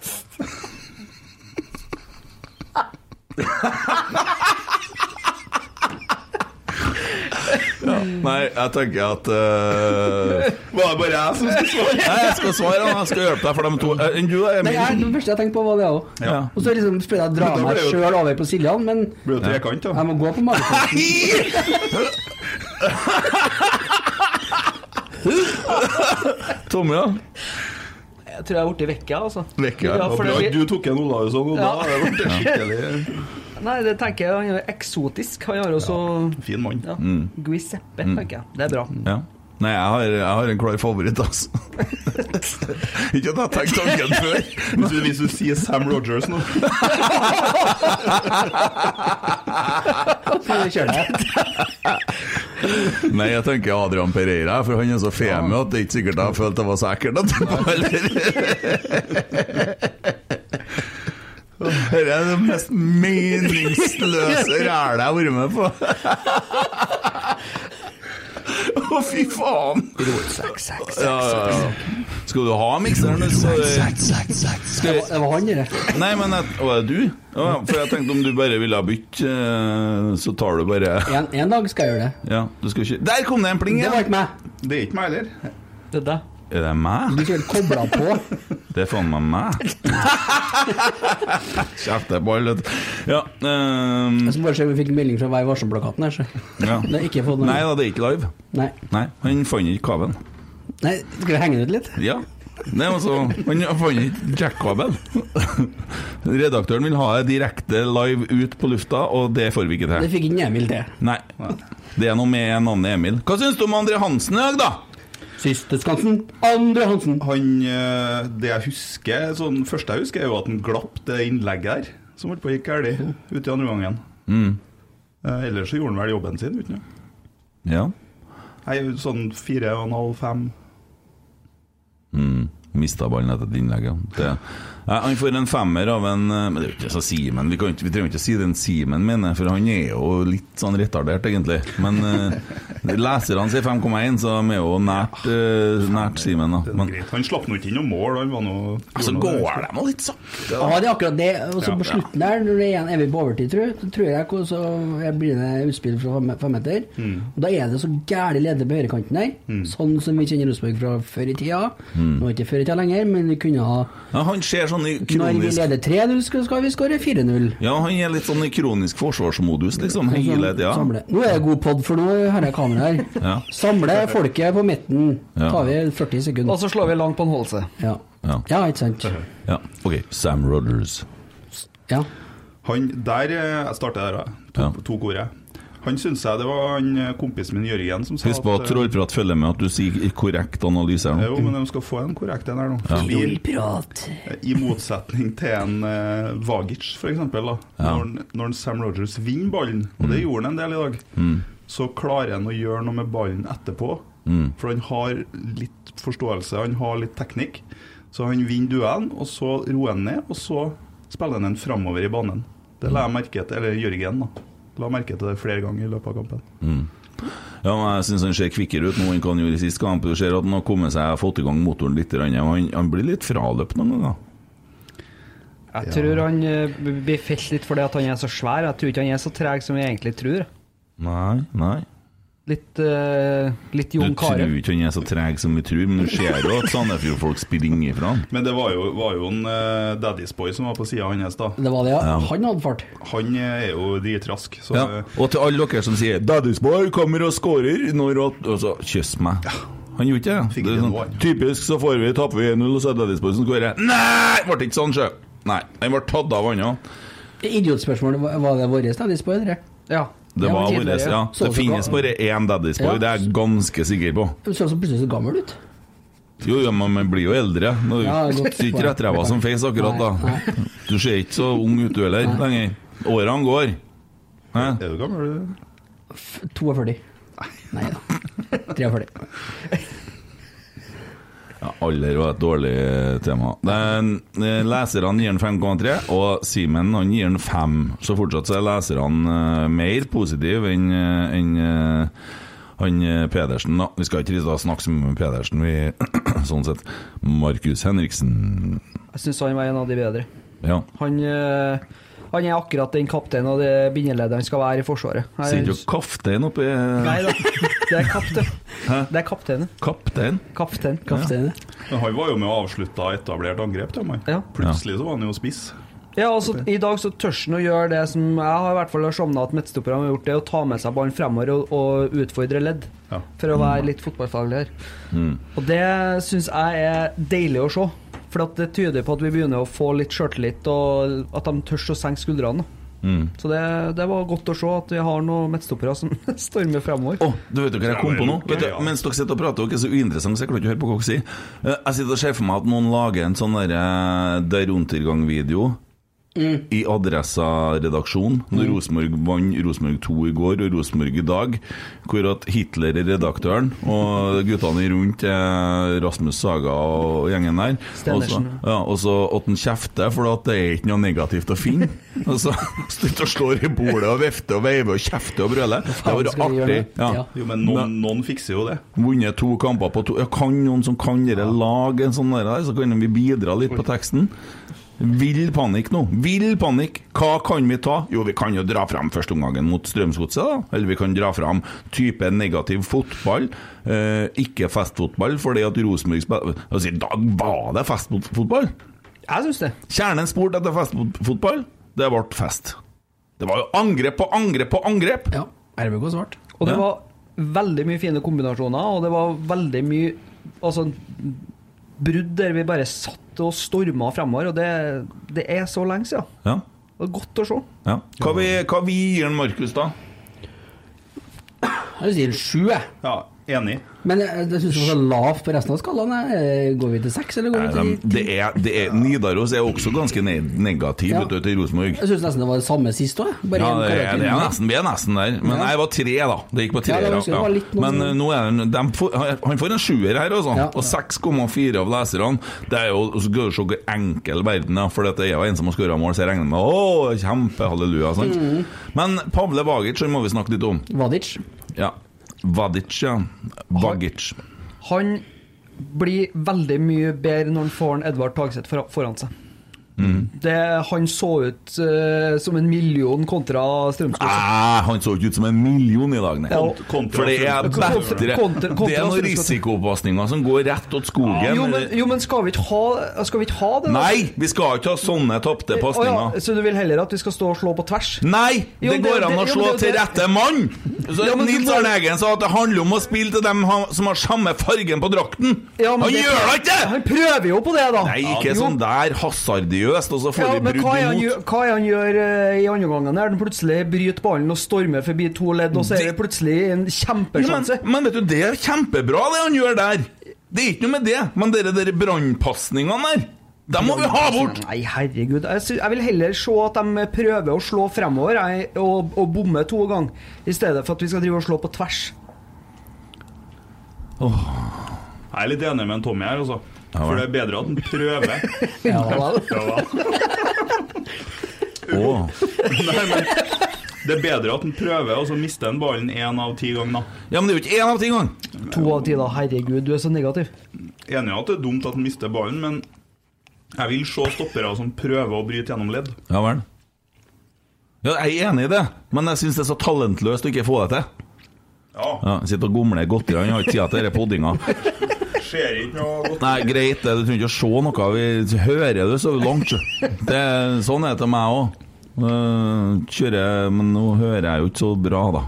Speaker 2: Nei, jeg tenker at eh,
Speaker 4: Var det bare jeg som skulle svare?
Speaker 2: Nei, jeg skal svare, da. Jeg skal hjelpe deg for dem to. Eh, Enn du, da,
Speaker 3: Nei, jeg,
Speaker 2: Emil?
Speaker 3: det første jeg tenkte på, var det òg.
Speaker 2: Ja.
Speaker 3: Og så liksom prøvde jeg å dra
Speaker 4: Men da ble
Speaker 3: meg
Speaker 4: jo-
Speaker 3: sjøl over på Siljan, men
Speaker 4: Det blir jo trekant, da.
Speaker 3: jeg må gå på magefølelsen.
Speaker 2: Tommy, da?
Speaker 5: Jeg tror jeg er borti vekka, altså.
Speaker 2: Vekka, ja,
Speaker 5: ja,
Speaker 4: Det var
Speaker 5: for
Speaker 4: bra
Speaker 5: det,
Speaker 4: at du tok en Olaus og Oda.
Speaker 5: Ja.
Speaker 4: Det ble skikkelig
Speaker 5: Nei, det tenker jeg. Han er jo eksotisk. Han har jo så
Speaker 4: fin mann.
Speaker 5: ja. Guiseppe,
Speaker 4: Mm.
Speaker 5: tenker jeg. Det er bra.
Speaker 2: Ja. Nei, jeg har, jeg har en klar favoritt, altså. ikke at jeg har tenkt tanken før.
Speaker 4: Hvis du, hvis du sier Sam Rogers nå
Speaker 3: Så kjører jeg.
Speaker 2: Nei, jeg tenker Adrian Pereira, for han er så femi at det er ikke sikkert jeg følte jeg var så ekkel etterpå heller. Dette er det mest meningsløse rælet jeg har vært med på. Å, fy faen! Ja, ja, ja. Skal du ha mikseren, så Skal
Speaker 3: Det var han, det.
Speaker 2: Nei, men jeg, var det du? Ja, for jeg tenkte om du bare ville bytte, eh, så tar du bare
Speaker 3: En, en dag skal jeg gjøre det.
Speaker 2: Ja, du skal ikke Der kom det en pling!
Speaker 3: Det
Speaker 2: ja.
Speaker 3: var ikke meg.
Speaker 4: Det er ikke meg heller.
Speaker 5: Det er deg.
Speaker 2: Er det meg?
Speaker 3: Du skulle kobla på.
Speaker 2: Det er faen meg meg. Kjeft, det er ball, vet du. Ja, ehm,
Speaker 3: Jeg skal bare se om vi fikk en melding fra Vær varsom-plakaten her, så.
Speaker 2: ja.
Speaker 3: Altså, Det har ikke fått noe.
Speaker 2: Nei da, det er ikke live.
Speaker 3: Nei.
Speaker 2: Nei, han fant ikke kabelen.
Speaker 3: Nei, skal vi henge den ut litt?
Speaker 2: Ja. Nei, altså, han fant ikke jack-kabel. Redaktøren vil ha det direkte live ut på lufta, og det får vi ikke
Speaker 3: Det
Speaker 2: til.
Speaker 3: fikk ikke Emil til.
Speaker 2: Nei. Det er noe med navnet Emil. Hva syns du om André Hansen i dag, da?
Speaker 3: Siste skansen. Andre Hansen.
Speaker 4: Han, eh, det jeg husker, sånn første jeg husker, er jo at han glapp det innlegget der, som holdt på å gikk galt ute i andre gangen.
Speaker 2: Mm.
Speaker 4: Eh, Ellers så gjorde han vel jobben sin, uten det.
Speaker 2: Ja.
Speaker 4: Nei, sånn fire og en halv, fem.
Speaker 2: Mista ballen etter et innlegg. ja. Det, Nei, han får en femmer av en eh, Men det er jo ikke så Simen. Vi, kan ikke, vi trenger ikke å si den Simen mener, for han er jo litt sånn retardert, egentlig. Men eh, leserne sier 5,1, så de er jo nært, eh, nært Simen,
Speaker 4: Det
Speaker 2: da.
Speaker 4: er
Speaker 2: Men
Speaker 4: greit. Han slapp nå ikke inn noe mål. Han var noe,
Speaker 2: så går de nå litt sakte.
Speaker 3: Ja, det er akkurat det. Og så
Speaker 4: Ja,
Speaker 3: på
Speaker 4: ja.
Speaker 3: slutten der, når det igjen er vi på overtid, tror, jeg, så tror jeg hvor- så jeg blir det utspill fra fem- femmeter.
Speaker 2: Mm.
Speaker 3: Og da er det så gæli leder på høyrekanten der, sånn som vi kjenner Rosenborg fra før i tida. Nå er det ikke før i tida lenger, men vi kunne ha
Speaker 2: Ja, han ser sånn i
Speaker 3: Når vi
Speaker 2: Mm. kronisk
Speaker 3: leder 3-0, skal skal vi skåre 4-0.
Speaker 2: Ja, han er litt sånn i kronisk forsvarsmodus, liksom, hele
Speaker 3: Sånn,
Speaker 2: tida.
Speaker 3: Samle. Nå er det god pod, for nå har jeg kamera her.
Speaker 2: Ja.
Speaker 3: Samle folket på midten.
Speaker 2: Ja.
Speaker 3: Tar vi 40
Speaker 5: Og
Speaker 3: sekunder.
Speaker 5: så slår vi langt på en holse.
Speaker 3: Ja.
Speaker 2: Ja.
Speaker 3: ja, ikke sant.
Speaker 2: Ja. OK, Sam Rodders.
Speaker 3: Ja.
Speaker 4: Han der eh, Jeg starter der, da. To,
Speaker 2: Ja.
Speaker 4: to ordet. Han syns jeg det var han eh, kompisen min Jørgen som sa
Speaker 2: Husk på at
Speaker 4: eh,
Speaker 2: Trollprat følger med at du sier korrekt analyse her nå.
Speaker 4: Jo, men eh, de skal få en korrekt en her nå. Fordi,
Speaker 3: Prat.
Speaker 4: eh, I motsetning til en eh, Vagic, for eksempel. Da.
Speaker 2: Ja. Mm.
Speaker 4: Når, når Sam Rogers vinner ballen, og det gjorde han en del i dag, så klarer han å gjøre noe med ballen etterpå. For han har litt forståelse, han har litt teknikk. Så han vinner duellen, og så roer han ned, og så spiller han den framover i banen. Det la jeg merke til, eller Jørgen, da. La merke til det flere ganger i løpet av kampen.
Speaker 2: Ja, men jeg syns han ser kvikkere ut nå enn hva han gjorde i sist kamp. Du ser at han har kommet seg fått i gang motoren litt. grann, og Han, han blir litt fraløpt noen ganger.
Speaker 5: Jeg tror han eh, blir felt litt fordi at han er så svær. Jeg tror ikke han er så treg som vi egentlig tror.
Speaker 2: Nei, nei.
Speaker 5: Litt, eh, litt
Speaker 2: Du
Speaker 5: Jon
Speaker 2: tror
Speaker 5: Carew.
Speaker 2: ikke han er så treg som vi tror, men du ser jo at Sandefjord-folk springer ifra han.
Speaker 4: Men det var jo, var jo en eh, Daddy's Boy som var på sida hans, da.
Speaker 3: Det var det, ja. Han hadde fart.
Speaker 4: Han eh, er jo dritrask, så
Speaker 2: Ja. Og til alle dere som sier 'Daddy's boy kommer og scorer' når at Og så kyss meg. Han gjorde ikke det.
Speaker 4: Fikk
Speaker 2: det er
Speaker 4: ikke noe,
Speaker 2: sånn,
Speaker 4: han.
Speaker 2: typisk så får vi taper vi 1-0, og så er Daddy's boy som scorer. Nei! Ble ikke sånn, sjø. Nei. Den ble tatt av anna.
Speaker 3: Idiotspørsmål. var- Var det vår stadig spoilere?
Speaker 5: Ja.
Speaker 2: Det
Speaker 5: Ja,
Speaker 2: var
Speaker 5: men
Speaker 2: vårt,
Speaker 5: tidligere.
Speaker 2: ja.
Speaker 3: Så
Speaker 2: Det
Speaker 3: så
Speaker 2: finnes
Speaker 3: ga-
Speaker 2: bare én Daddy's boy,
Speaker 3: Ja.
Speaker 2: det er jeg ganske sikker på.
Speaker 3: Du ser også plutselig så gammel ut.
Speaker 2: Jo, ja, men man blir jo eldre. Nå
Speaker 3: Ja, godt
Speaker 2: sitter ikke
Speaker 3: poeng.
Speaker 2: rettræva som feis akkurat da.
Speaker 3: Nei,
Speaker 2: Du ser ikke så ung ut du heller lenger. Årene går. Hæ?
Speaker 4: Er du gammel, du?
Speaker 3: 42. Nei da. 43.
Speaker 2: Ja, alder var et dårlig eh, tema. Den, eh, leserne gir den 5,3, og Simen han gir den 5. Så fortsatt så er leserne eh, mer positive enn eh, enn, eh, han eh, Pedersen. Da. Vi skal ikke da snakke så mye med Pedersen, vi sånn sett. Markus Henriksen.
Speaker 5: Jeg syns han var en av de bedre.
Speaker 2: Ja.
Speaker 5: Han, eh, han er akkurat den kapteinen og det bindeleddet han skal være i Forsvaret. Jeg-
Speaker 2: Sitter jo kaptein oppi
Speaker 5: Nei da, det er kaptein. Det er kapteinen.
Speaker 2: Kaptein?
Speaker 5: Kaptein.
Speaker 3: Kaptein.
Speaker 4: Men han var jo med og avslutta etablert angrep, da, mann.
Speaker 5: Ja.
Speaker 4: Plutselig så var han jo spiss.
Speaker 5: Ja, altså, I dag så tør han å gjøre det som jeg har i hvert fall savna at midtstopperne har gjort, det å ta med seg ballen fremover og, og utfordre ledd.
Speaker 4: Ja.
Speaker 5: For å være litt fotballfaglig her. Og det syns jeg er deilig å se. For at det tyder på at vi begynner å få litt sjøltillit, og at de tør å senke skuldrene. Så det, det var godt å se at vi har noen midtstoppere som stormer fremover.
Speaker 2: Å, du vet jo hva jeg kom på nå? Vet du, mens dere sitter og prater, dere er så uinteressante, så jeg klarer ikke å høre på hva dere sier. Eh, Jeg sitter og ser for meg at noen lager en sånn derre Der Untergang-video. I Adressa-redaksjonen, når Rosenborg vant Rosenborg 2 i går og Rosenborg i dag, hvor at Hitler er redaktøren, og guttene rundt er Rasmus Saga og gjengen der.
Speaker 5: Stenersen.
Speaker 2: Og så- Ja, og så at han kjefter, for at det er ikke noe negativt å finne. Og så Slutt å slå i bordet og vifte og veive og kjefte og brøle. Det
Speaker 3: faen
Speaker 2: var
Speaker 3: skal vi gjøre
Speaker 2: artig.
Speaker 3: nå?
Speaker 2: Ja.
Speaker 3: Ja.
Speaker 4: Jo, men noen, noen fikser jo det.
Speaker 2: Vunnet to kamper på to ja, Kan noen som kan dere lage en sånn der, så kan vi bidra litt på teksten? Vill panikk nå. Vill panikk! Hva kan vi ta? Jo, vi kan jo dra fram førsteomgangen mot Strømsgodset, da. Eller vi kan dra fram type negativ fotball. Eh, ikke festfotball, fordi at Rosenborg spiller Altså, i dag var det festfotball!
Speaker 5: Jeg syns det.
Speaker 2: Kjernen spurte etter festfotball. Det ble fest. Det var jo angrep på angrep på angrep!
Speaker 3: Ja. RBK svart.
Speaker 5: Og det
Speaker 2: Ja.
Speaker 5: var veldig mye fine kombinasjoner, og det var veldig mye altså, brudd der vi bare satt og storma fremover, og det, det er så lenge siden.
Speaker 2: Ja.
Speaker 5: Det er godt å se.
Speaker 2: ja. Hva, vi, hva vi gir en Markus, da?
Speaker 3: Jeg vil si en sju, jeg.
Speaker 4: Ja, enig.
Speaker 3: Men jeg, jeg syns det var så lavt på resten av skalaen. jeg. Eh, Går vi til seks, eller går
Speaker 2: Nei,
Speaker 3: vi
Speaker 2: de,
Speaker 3: til ti?
Speaker 2: det er, det er, Nidaros er også ganske ne negativ
Speaker 3: Ja.
Speaker 2: vet du, til Rosenborg.
Speaker 3: Jeg syns nesten det var det samme sist òg. Bare
Speaker 2: Ja,
Speaker 3: en
Speaker 2: det er,
Speaker 3: karakter
Speaker 2: det er
Speaker 3: mindre.
Speaker 2: nesten, vi er nesten der. Men
Speaker 3: Ja.
Speaker 2: jeg var tre, da. Det gikk på tre.
Speaker 3: Ja, det var- det var litt noe
Speaker 2: Men
Speaker 3: sånn.
Speaker 2: eh, nå er den, dem får, han får en sjuer her, altså.
Speaker 3: Ja.
Speaker 2: Og 6,4 av leserne. Det er jo og så skal du se hvor enkel verden er, for det er jo en som har skåra mål, så jeg regner med Å, kjempehalleluja, sant?
Speaker 3: Mm.
Speaker 2: Men Pavle Vagic, han må vi snakke litt om.
Speaker 3: Vadic.
Speaker 2: Ja. Vadic, ja. Vagic.
Speaker 5: Han blir veldig mye bedre når han får en Edvard Tagseth for, foran seg.
Speaker 2: Mm.
Speaker 5: Det, han så ut eh, som en million kontra Strømsgodset.
Speaker 2: Nei, Ah, han så ikke ut som en million i dag, nei.
Speaker 5: Ja.
Speaker 4: Kontra-
Speaker 2: For det er
Speaker 4: kontra-
Speaker 2: bedre
Speaker 5: kontra- kontra-
Speaker 2: Det er noen risikopasninger som går rett åt skogen.
Speaker 5: Jo, men, jo, men skal, vi ikke ha, skal vi ikke ha det? da?
Speaker 2: Nei, vi skal ikke ha sånne tapte
Speaker 5: Å ja,
Speaker 2: pasninger.
Speaker 5: så du vil heller at vi skal stå og slå på tvers?
Speaker 2: Nei!
Speaker 5: Jo,
Speaker 2: Det
Speaker 5: men
Speaker 2: går
Speaker 5: det-
Speaker 2: an å
Speaker 5: jo,
Speaker 2: slå
Speaker 5: men det-
Speaker 2: til rette mann! Så
Speaker 5: Ja, men du
Speaker 2: Nils
Speaker 5: må-
Speaker 2: Arne Eggen sa at det handler om å spille til dem ha- som har samme fargen på drakten.
Speaker 5: Ja, men
Speaker 2: Han
Speaker 5: det-
Speaker 2: gjør da ikke det!
Speaker 5: Han prøver jo på det, da!
Speaker 2: Nei,
Speaker 5: Jo.
Speaker 2: ikke sånn der hasardiøst, og så får
Speaker 5: Ja,
Speaker 2: vi
Speaker 5: men hva
Speaker 2: brudd
Speaker 5: er han, gjør-
Speaker 2: imot.
Speaker 5: hva er han gjør eh, i andre gangen? Er han plutselig bryter ballen og stormer forbi to ledd, og så er det
Speaker 2: Det-
Speaker 5: plutselig en
Speaker 2: Ja, men,
Speaker 5: kjempesjanse?
Speaker 2: men vet du, det er kjempebra, det han gjør der. Det er ikke noe med det. Men dere, dere brannpasningene der, dem må vi ha bort!
Speaker 5: Nei, herregud. Jeg, sy- jeg vil heller se at de prøver å slå fremover jeg, og, og bomme to ganger, i stedet for at vi skal drive og slå på tvers.
Speaker 4: Jeg er litt enig med en Tommy her, altså. For det er bedre at han prøver.
Speaker 3: Ja, da.
Speaker 4: Ja, da.
Speaker 2: Åh.
Speaker 4: Nei, men Det er bedre at han prøver, og så mister han ballen én av ti ganger. da.
Speaker 2: Ja, men det er jo ikke én av ti engang!
Speaker 5: To av ti, da. Herregud, du er så negativ.
Speaker 4: Enig i at det er dumt at han mister ballen, men jeg vil se stoppere som prøver å bryte gjennom ledd.
Speaker 2: Ja vel. Ja, jeg er enig i det, men jeg syns det er så talentløst å ikke få det til.
Speaker 4: Ja,
Speaker 2: Ja, Sitter og gomler godteri, han har ikke tid til denne poddinga.
Speaker 4: ser ikke noe godt.
Speaker 2: Nei, greit, det, du trenger ikke å se noe, vi hører det så langt. så. Det, sånn er det til meg òg. kjører Men nå hører jeg jo ikke så bra, da.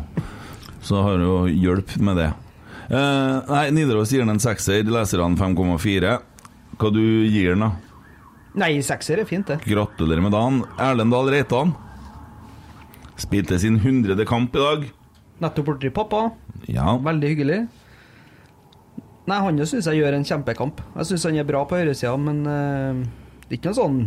Speaker 2: Så har jo hjelp med det. Eh, nei, Nidaros gir den en sekser, leserne 5,4. Hva du gir den, da?
Speaker 5: Nei, sekser er fint, det.
Speaker 2: Gratulerer med dagen. Erlend Dahl Reitan spilte sin hundrede kamp i dag.
Speaker 5: Nettopp borti pappa.
Speaker 2: Ja,
Speaker 5: Veldig hyggelig. Nei, han syns jeg gjør en kjempekamp. Jeg syns han er bra på høyresida, men eh, det er ikke noen sånn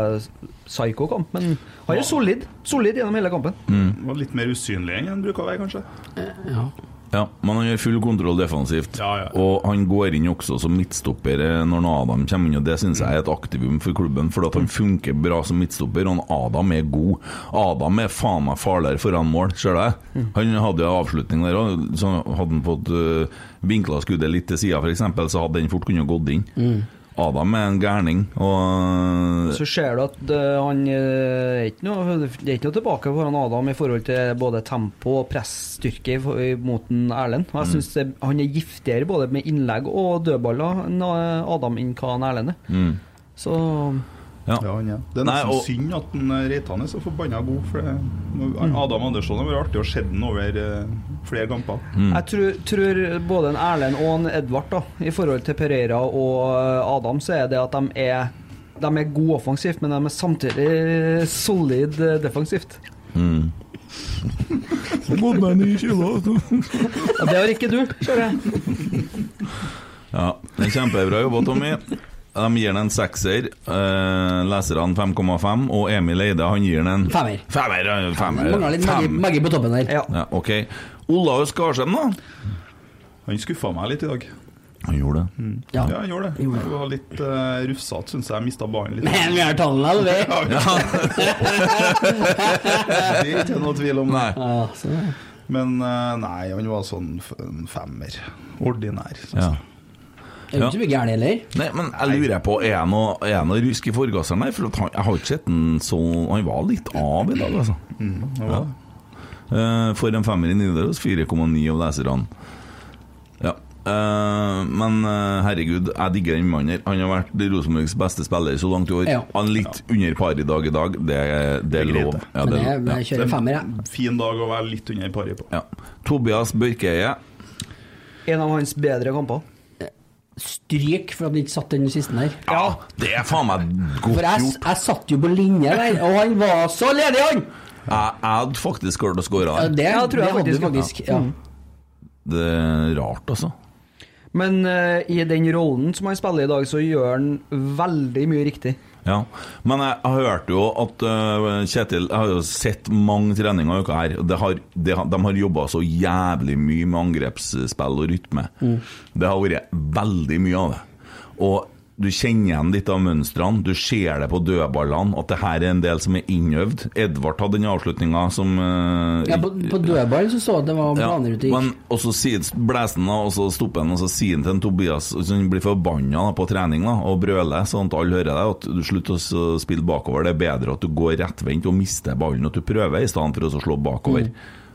Speaker 5: ultra-psyko-kamp. Men han er solid. Solid gjennom hele kampen.
Speaker 4: Var litt mer usynlig enn han bruker å være, kanskje.
Speaker 2: ja men han gjør full kontroll defensivt.
Speaker 4: Ja, ja.
Speaker 2: Og han går inn også som midtstopper eh, når nå Adam kommer inn, og det syns jeg er et aktivum for klubben, fordi at han funker bra som midtstopper, og han Adam er god. Adam er faen meg farligere foran mål, ser du det? Han hadde jo avslutning der òg, så hadde han fått uh, vinkla skuddet litt til sida, f.eks., så hadde den fort kunnet gått inn. Adam er en gærning, og
Speaker 5: Så ser du at eh, han eh, er ikke noe, det er ikke noe tilbake foran Adam i forhold til både tempo og pressstyrke i for- i- mot en Erlend. Og Jeg syns han er giftigere både med innlegg og dødballer enn eh, Adam enn hva han Erlend er. Så
Speaker 4: Ja, han er. Det er
Speaker 2: Nei,
Speaker 4: nesten
Speaker 2: og-
Speaker 4: synd at den, eh, Reitan er så forbanna god, for det, Adam Andersson har vært artig å se den over eh, flere kamper.
Speaker 5: jeg tror, tror både en Erlend og en Edvard da, i forhold til Pereira og eh, Adam, så er det at de er, de er gode offensivt, men de er samtidig solid eh, defensivt.
Speaker 4: altså.
Speaker 5: Og det har ikke du, ser jeg.
Speaker 2: Ja, det er kjempebra jobba, Tommy. De gir den en sekser. Eh, leserne 5,5. Og Emil Eide han gir den en
Speaker 3: Femmer.
Speaker 2: Femmer, ja, femmer.
Speaker 3: Mangler litt Maggi-
Speaker 2: Fem.
Speaker 3: Maggi på toppen der.
Speaker 5: Ja.
Speaker 2: Ja, ok. Olav Skarsheim, da?
Speaker 4: Han skuffa meg litt i dag.
Speaker 2: Han gjorde det.
Speaker 3: Mm. Ja.
Speaker 4: Ja, han gjorde det. Det var litt uh, rufsete, syns jeg. Jeg mista ballen litt.
Speaker 3: Men vi har tallene, eller? vi?
Speaker 4: Det er ikke noe tvil om.
Speaker 2: Nei.
Speaker 3: Ja, så det er-
Speaker 4: Men eh, nei, han var sånn f- en femmer. Ordinær. synes
Speaker 2: Ja.
Speaker 4: jeg.
Speaker 3: det er jo ikke så mye gærent heller.
Speaker 2: Nei, men jeg lurer på, er han noe, er han noe rusk i forgasseren der? For at han, jeg har ikke sett han så Han var litt av i dag, altså.
Speaker 4: Det Mm, var det.
Speaker 2: Eh, for en femmer i Nidaros, 4,9 av leserne. Ja. eh, men eh, herregud, jeg digger den mannen her. Han har vært Rosenborgs beste spiller så langt i år.
Speaker 3: Ja.
Speaker 2: Han litt under par i dag i dag, det, det er
Speaker 4: greit,
Speaker 2: lov.
Speaker 4: det.
Speaker 2: Ja,
Speaker 3: Men
Speaker 2: det
Speaker 3: jeg,
Speaker 2: er lov.
Speaker 3: jeg kjører femmer, jeg.
Speaker 4: Fin dag å være litt under paret på.
Speaker 2: Ja. ja. Tobias Børkeie.
Speaker 5: En av hans bedre kamper.
Speaker 3: Stryk for at vi ikke satt den siste der.
Speaker 2: Ja, det er faen meg
Speaker 3: For
Speaker 2: godt
Speaker 3: jeg,
Speaker 2: gjort.
Speaker 3: jeg satt jo på linje der, og han var så ledig, han!
Speaker 2: Jeg, jeg hadde faktisk klart å skåre
Speaker 3: Ja,
Speaker 2: han.
Speaker 3: det,
Speaker 5: Ja, tror jeg
Speaker 3: det hadde du
Speaker 5: faktisk,
Speaker 3: faktisk. Ja.
Speaker 2: Det er rart, altså.
Speaker 5: Men eh, i den rollen som han spiller i dag, så gjør han veldig mye riktig.
Speaker 2: Ja, Men jeg har hørt jo at øh, Kjetil Jeg har jo sett mange treninger i uka her. og Det har, det, har- de har jobba så jævlig mye med angrepsspill og rytme.
Speaker 3: Mm.
Speaker 2: Det har vært veldig mye av det. Og du kjenner igjen litt av mønstrene. Du ser det på dødballene at det her er en del som er innøvd. Edvard hadde den avslutninga som øh,
Speaker 3: Ja, på, på dødballen så så jeg at det var
Speaker 2: ja,
Speaker 3: planer ute og
Speaker 2: men
Speaker 3: gikk.
Speaker 2: og så sier blæsen da, og så stopper han, og så sier han til en Tobias så Han blir forbanna da på trening da, og brøler, sånn at alle hører deg, at du slutter å s- spille bakover. Det er bedre at du går rettvendt og mister ballen, at du prøver i stedet for å så slå bakover.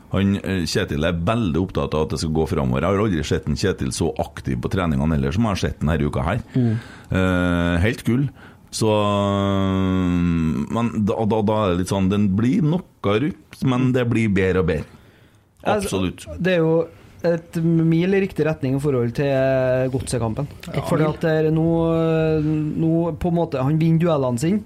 Speaker 2: Han, eh, Kjetil er veldig opptatt av at det skal gå framover. Jeg har aldri sett en Kjetil så aktiv på treningene ellers som jeg har sett denne uka her. Eh, helt gull. Så eh, Men da, da, da er det litt sånn Den blir noe rutt, men det blir bedre og bedre. Absolutt.
Speaker 5: Altså, Det er jo et mil i riktig retning i forhold til godsekampen. Fordi at det er nå, nå på en måte, Han vinner duellene sine.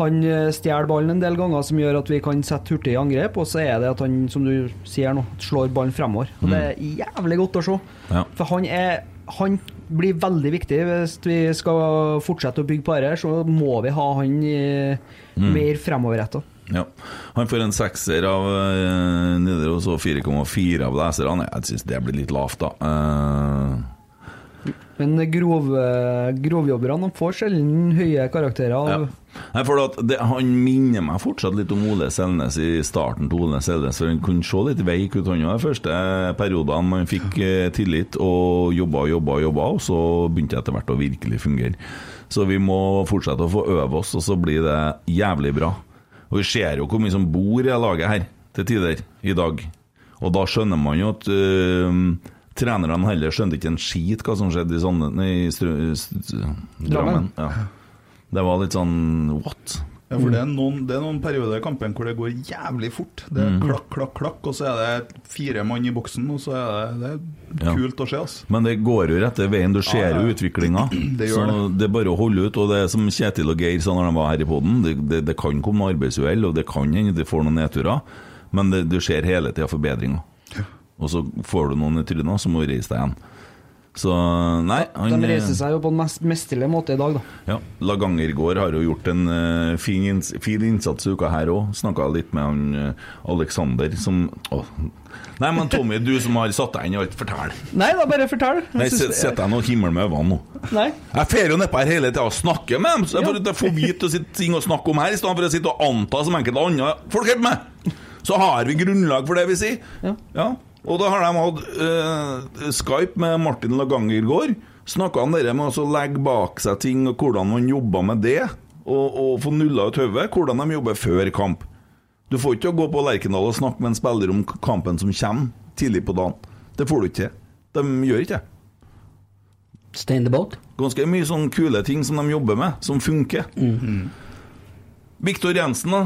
Speaker 5: Han eh, stjeler ballen en del ganger, som gjør at vi kan sette hurtig i angrep. Og så er det at han, som du sier nå, slår ballen fremover. Og det er jævlig godt å se.
Speaker 2: Mm. Ja.
Speaker 5: For han er han blir veldig viktig hvis vi skal fortsette å bygge på dette. Så må vi ha han eh,
Speaker 2: Mm.
Speaker 5: mer fremoverretta.
Speaker 2: Ja. Han får en sekser av uh, Nidaros og 4,4 av leserne. Jeg syns det blir litt lavt, da. Eh,
Speaker 5: eh, Men grov, grovjobberne de får sjelden høye karakterer av
Speaker 2: Ja. Nei, for at det, Han minner meg fortsatt litt om Ole Selnes i starten til Ole Selnes. For Han kunne se litt veik ut, han òg, de første periodene. Man fikk eh, tillit og jobba og jobba og jobba, og så begynte det etter hvert å virkelig fungere. Så vi må fortsette å få øve oss, og så blir det jævlig bra. Og vi ser jo hvor mye som bor i det laget her til tider i dag. Og da skjønner man jo at øh, trenerne heller skjønte ikke en skit hva som skjedde i, sånne, nei, i Stru- St- Drammen.
Speaker 5: Drammen.
Speaker 2: Ja. Det var litt sånn what? Mm.
Speaker 4: Ja, for det er, noen, det er noen perioder i kampen hvor det går jævlig fort. Det
Speaker 2: Mm.
Speaker 4: er klakk, klakk, klakk, og så er det fire mann i boksen, og så er det, det
Speaker 2: Ja.
Speaker 4: er kult å se, altså.
Speaker 2: Men det går jo rett veien. Du ser
Speaker 4: Ja,
Speaker 2: jo
Speaker 4: ja.
Speaker 2: utviklinga.
Speaker 4: Det
Speaker 2: så
Speaker 4: gjør
Speaker 2: det er bare å holde ut. Og det er som Kjetil og Geir sa når de var her i poden, det, det, det kan komme arbeidsuhell, og det kan hende de får noen nedturer, men det, du ser hele tida forbedringer. Og så får du noen i trynet, så må du reise deg igjen. Så nei han,
Speaker 4: eh,
Speaker 5: De reiser seg jo på en mest mesterlig måte i dag, da.
Speaker 2: Ja, Lagangergård har jo gjort en eh, fin, inns fin innsats i uka her òg. Snakka litt med han eh, Alexander som Åh. Nei, men Tommy, du som har satt deg inn i alt, fortell.
Speaker 5: Nei da, bare fortell. Jeg
Speaker 2: Nei,
Speaker 5: synes-
Speaker 2: Sitter jeg nå og himler med øynene nå?
Speaker 5: Nei.
Speaker 2: Jeg fer jo nedpå her hele tida og snakker med dem, så jeg får, jeg får vite å sitte- ting å snakke om her, i stedet for å sitte og anta som enkelte andre folk hjelper meg. Så har vi grunnlag for det vi sier.
Speaker 5: Ja.
Speaker 2: Og da har de hatt eh, Skype med Martin Laganger i går. Snakka han dere med å så legge bak seg ting, og hvordan man jobba med det, og, og få nulla ut hodet, hvordan de jobber før kamp. Du får ikke gå på Lerkendal og snakke med en spiller om k- kampen som kommer, tidlig på dagen. Det får du ikke til. De gjør ikke det.
Speaker 3: Stay in the boat.
Speaker 2: Ganske mye sånn kule ting som de jobber med, som funker. Viktor Jensen, da.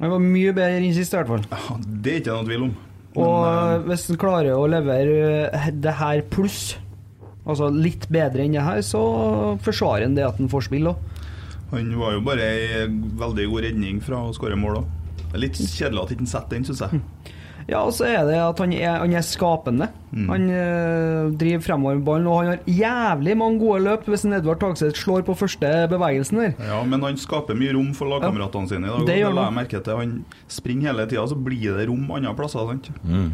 Speaker 5: Han var mye bedre enn sist, i hvert fall.
Speaker 4: Ja, Det er ikke noe tvil om.
Speaker 5: Og eh, hvis han klarer å levere eh, det her pluss, altså litt bedre enn det her, så forsvarer han det at han får spill òg.
Speaker 4: Han var jo bare ei veldig god redning fra å skåre mål òg. Det er litt kjedelig at ikke han setter den, syns jeg.
Speaker 5: Ja, og så er det at han er, han er skapende. Han eh, driver fremover med ballen, og han har jævlig mange gode løp hvis en Edvard Tagseth slår på første bevegelsen der.
Speaker 4: Ja, men han skaper mye rom for lagkameratene sine i dag. og
Speaker 5: Det
Speaker 4: Det
Speaker 5: gjør
Speaker 4: la jeg
Speaker 5: han.
Speaker 4: merke til. Han springer hele tida, så blir det rom andre plasser. sant?
Speaker 2: Mm.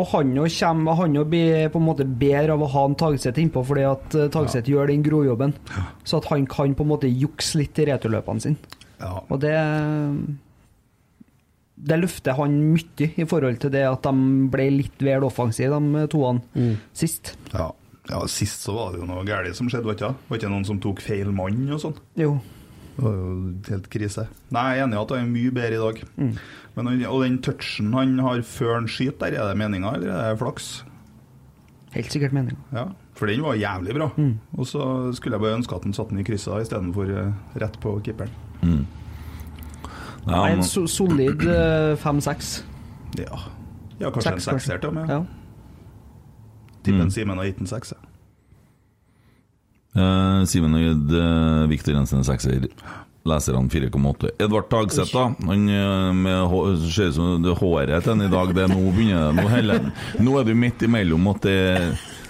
Speaker 5: Og han jo kommer, han jo blir på en måte bedre av å ha en Tagseth innpå, fordi at eh, Tagseth gjør den grojobben. Så at han kan på en måte jukse litt i returløpene sine.
Speaker 4: Ja.
Speaker 5: Og det Det løfter han mye i forhold til det at de ble litt vel offensive, de eh, toene,
Speaker 3: Mm.
Speaker 5: sist.
Speaker 4: Ja. ja, sist så var det jo noe galt som skjedde, var ikke det? Var ikke noen som tok feil mann og sånn?
Speaker 5: Jo.
Speaker 4: Det var jo helt krise. Mm. Nei, jeg er enig i at han er mye bedre i dag. Men han, og den touchen han har før han skyter der, er det meninga, eller er det flaks?
Speaker 5: Helt sikkert meninga.
Speaker 4: Ja, for den var jævlig bra. Og så skulle jeg bare ønske at han satte den i kryssa istedenfor eh, rett på keeperen.
Speaker 2: Ja,
Speaker 5: En
Speaker 2: men,
Speaker 5: so solid eh, fem-seks.
Speaker 4: Ja. ja, kanskje
Speaker 5: Seks,
Speaker 4: en sekser til og med.
Speaker 5: Ja.
Speaker 2: Mm.
Speaker 4: Tipper en Simen har gitt en sekser.
Speaker 2: Eh, Simen Øyd, eh, Viktor Jensen er sekser. Leserne 4,8. Edvard Tagseth, da. Han eh, med hå- ser ut som det håret til han i dag. Det er nå begynner det. Nå, heller, nå er du midt imellom at det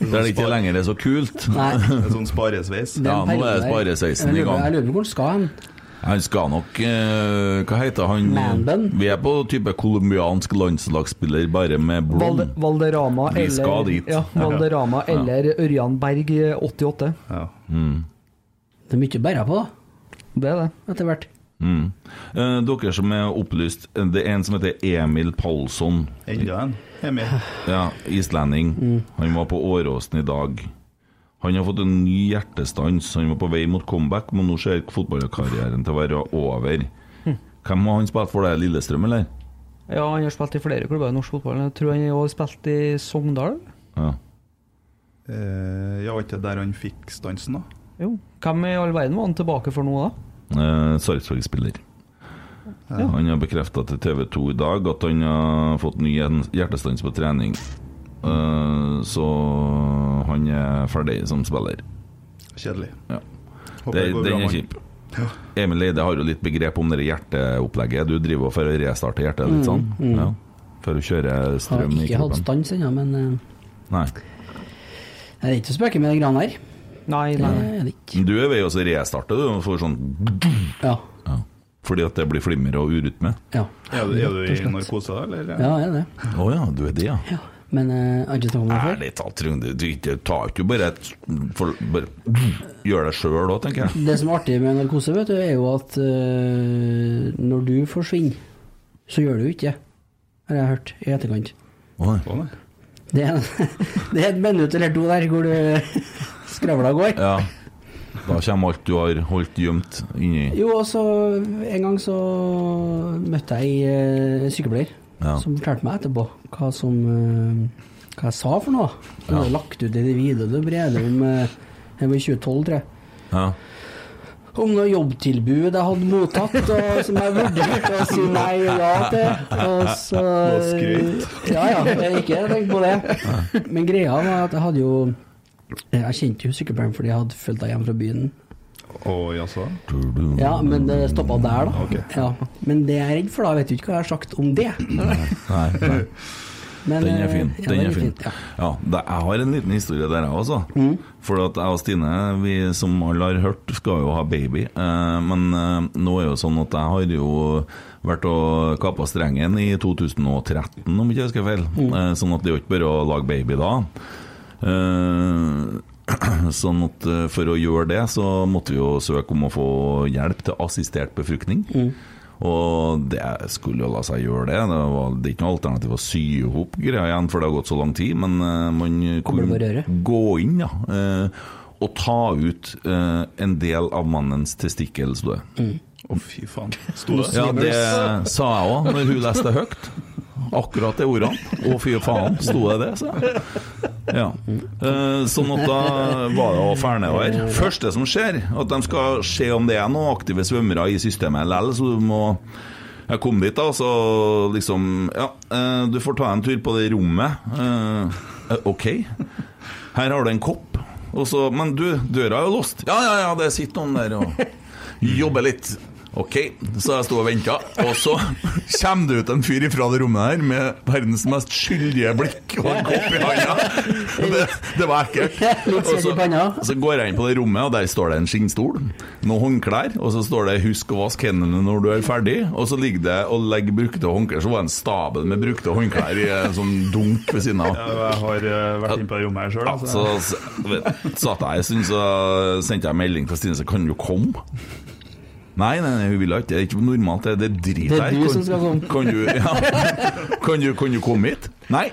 Speaker 2: Der det ikke lenger er så kult.
Speaker 3: Nei.
Speaker 4: En sånn sparesveis.
Speaker 3: det
Speaker 2: Ja,
Speaker 3: en
Speaker 2: nå er det
Speaker 3: periode der.
Speaker 2: sparesveisen i
Speaker 3: Jeg lurer-
Speaker 2: gang.
Speaker 3: Jeg lurer på hvor skal han
Speaker 2: Han skal nok eh, Hva heter han?
Speaker 3: Manbun?
Speaker 2: Vi er på type colombiansk landslagsspiller, bare med
Speaker 5: Valde,
Speaker 2: blond.
Speaker 5: Valderama
Speaker 2: Vi
Speaker 5: eller,
Speaker 2: skal dit.
Speaker 5: Ja, Valderama
Speaker 2: Ja.
Speaker 5: eller Ørjan Berg eh, 88.
Speaker 4: Ja.
Speaker 2: Mm.
Speaker 3: Det er mye å bære på,
Speaker 5: Det er det.
Speaker 3: etter hvert.
Speaker 2: Mm. Eh, dere som er opplyst, det er en som heter Emil Palsson.
Speaker 4: Enda en. Emil.
Speaker 2: Ja, islending. Han var på Åråsen i dag. Han har fått en ny hjertestans. Han var på vei mot comeback, men nå ser fotballkarrieren til å være over. Hvem har han spilt for? Det er Lillestrøm, eller?
Speaker 5: Ja, han har spilt i flere klubber i norsk fotball. Jeg tror han har også spilt i Sogndal.
Speaker 2: Ja.
Speaker 4: Eh, ja, var ikke det der han fikk stansen, da?
Speaker 5: Jo. Hvem i all verden var han tilbake for nå, da?
Speaker 2: Eh, Sarpsborg-spiller.
Speaker 5: Ja.
Speaker 2: Han har bekrefta til TV 2 i dag at han har fått ny hjerten- hjertestans på trening. Eh, så han er ferdig som spiller.
Speaker 4: Kjedelig.
Speaker 2: Ja.
Speaker 4: Håper går
Speaker 2: Det,
Speaker 4: bra
Speaker 2: den er
Speaker 4: med han.
Speaker 2: kjip. Emil Eide har jo litt begrep om det hjerteopplegget. Du driver og for å restarte hjertet litt sånn? Ja. For å kjøre
Speaker 3: Mm, Har
Speaker 2: strøm i
Speaker 3: ikke hatt
Speaker 2: kroppen?
Speaker 3: stans ennå, men eh,
Speaker 2: Nei.
Speaker 3: det er ikke å spøke med de greiene her.
Speaker 5: Nei,
Speaker 3: Det
Speaker 5: nei.
Speaker 3: er det ikke.
Speaker 2: Men Du er ved å så restarte, du. For sånn,
Speaker 3: Ja.
Speaker 2: ja. Fordi at det blir flimmer og urytme?
Speaker 3: Ja,
Speaker 4: Er du, er du i narkose, da, eller?
Speaker 3: ja jeg er det.
Speaker 2: Å ja, du er det, ja.
Speaker 3: Men eh, jeg har ikke snakket om det før.
Speaker 2: Ærlig talt, trenger du- du du tar ikke bare et for, bare, Gjør det sjøl òg, tenker jeg.
Speaker 3: Det som er artig med narkose, vet du, er jo at eh, når du forsvinner, så gjør du jo ikke det. Har jeg hørt i etterkant.
Speaker 2: Oi.
Speaker 3: Det er, det er et minutt eller to der hvor du skravla går.
Speaker 2: Ja. Da kommer alt du har holdt gjemt, inni
Speaker 3: Jo, og så en gang så møtte jeg ei eh, sykepleier
Speaker 2: Ja.
Speaker 3: som fortalte meg etterpå hva som eh, hva jeg sa for noe. Hun
Speaker 2: Ja.
Speaker 3: hadde lagt ut i det videoen og brevet om eh, det var i 2012, tror jeg.
Speaker 2: ja.
Speaker 3: Om noe jobbtilbud jeg hadde mottatt, og som jeg vurderte å si nei og ja til. Og så
Speaker 4: Noe skryt.
Speaker 3: Ja ja, det er ikke tenk på det. Men greia var at jeg hadde jo eh, Jeg kjente jo sykepleieren fordi jeg hadde fulgt henne hjem fra byen.
Speaker 4: Å, jaså?
Speaker 3: Ja, men det stoppa der, da.
Speaker 4: Ok.
Speaker 3: Ja. Men det jeg er redd for, da, vet du ikke hva jeg har sagt om det.
Speaker 2: Nei, nei.
Speaker 3: Men,
Speaker 2: Den er fin.
Speaker 3: eh, ja,
Speaker 2: Den er fin.
Speaker 3: Ja. Mm.
Speaker 2: Ja, det, jeg har en liten historie der, jeg også. For at jeg og Stine, vi som alle har hørt, skal jo ha baby. Eh, men eh, nå er jo sånn at jeg har jo vært og kappa strengen i 2013, om ikke jeg husker feil.
Speaker 3: Mm.
Speaker 2: Eh, sånn at det er jo ikke bare å lage baby da. Eh, Sånn at eh, for å gjøre det, så måtte vi jo søke om å få hjelp til assistert befruktning. Og det skulle jo la seg gjøre det. Det var det er ikke noe alternativ å sy i hop greia igjen, for det har gått så lang tid. Men eh, man
Speaker 3: på røret.
Speaker 2: gå inn ja, eh, og ta ut eh, en del av mannens testikkel, sto det.
Speaker 4: Å, fy faen. Sto det?
Speaker 2: Ja, det sa jeg òg når hun leste høyt. Akkurat det ordene. Å, fy faen, sto det det, sa jeg. Ja. Eh, Sånn at da var det å ferne over. Første som skjer, at de skal se om det er noen aktive svømmere i systemet likevel, så du må jeg kom dit, da, så liksom Ja, eh, du får ta en tur på det rommet. Eh, eh, OK. Her har du en kopp. Og så, men du, døra er jo låst. Ja, ja, ja, det sitter noen der og jobber litt. OK, så jeg sto og venta, og så kommer det ut en fyr ifra det rommet her med verdens mest skyldige blikk og en kopp i handa. Det, det var ekkelt.
Speaker 3: Litt
Speaker 2: Og
Speaker 3: svett i
Speaker 2: så-
Speaker 3: panna.
Speaker 2: så går jeg inn på det rommet, og der står det en skinnstol, noen håndklær, og så står det 'husk å vaske hendene når du er ferdig', og så ligger det og legger brukte håndklær, så var det en stabel med brukte håndklær i en sånn dunk ved siden av.
Speaker 4: Ja, Jeg har eh, vært inne på det rommet her altså. sjøl.
Speaker 2: Ja, så s- vet- satt jeg en stund, så sendte jeg melding til Stine, så kan du komme? Nei, nei, nei, hun ville ikke. Det er ikke normalt, det det driter
Speaker 3: Det er
Speaker 2: jeg i.
Speaker 3: du
Speaker 2: Kan-
Speaker 3: som skal komme.
Speaker 2: Kan du, ja. kan, du, kan du komme hit? Nei.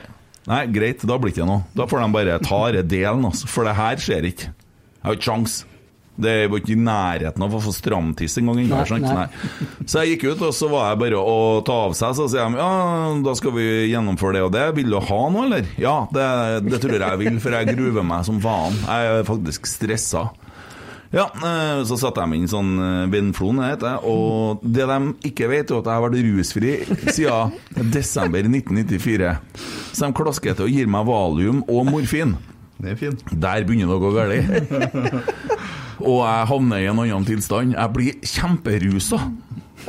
Speaker 2: Nei, greit, da blir det ikke noe. Da får de bare ta det delen, altså. For det her skjer ikke. Jeg har ikke sjans. Det var ikke i nærheten av å få stramtiss engang. ennå,
Speaker 3: Nei,
Speaker 2: skjønt?
Speaker 3: nei.
Speaker 2: Nei. Så jeg gikk ut, og så var jeg bare å ta av seg. Så sier de ja, da skal vi gjennomføre det og det. Vil du ha noe, eller? Ja, det, det tror jeg jeg vil, for jeg gruver meg som faen. Jeg er faktisk stressa. Ja, eh, så satte jeg meg inn i sånn eh, Venflon, det heter jeg, og det de ikke vet, er at jeg har vært rusfri siden desember 1994. Så de klasker til og gir meg valium og morfin.
Speaker 4: Det er fint.
Speaker 2: Der begynner det å gå galt. Og jeg havner i en annen tilstand. Jeg blir kjemperusa.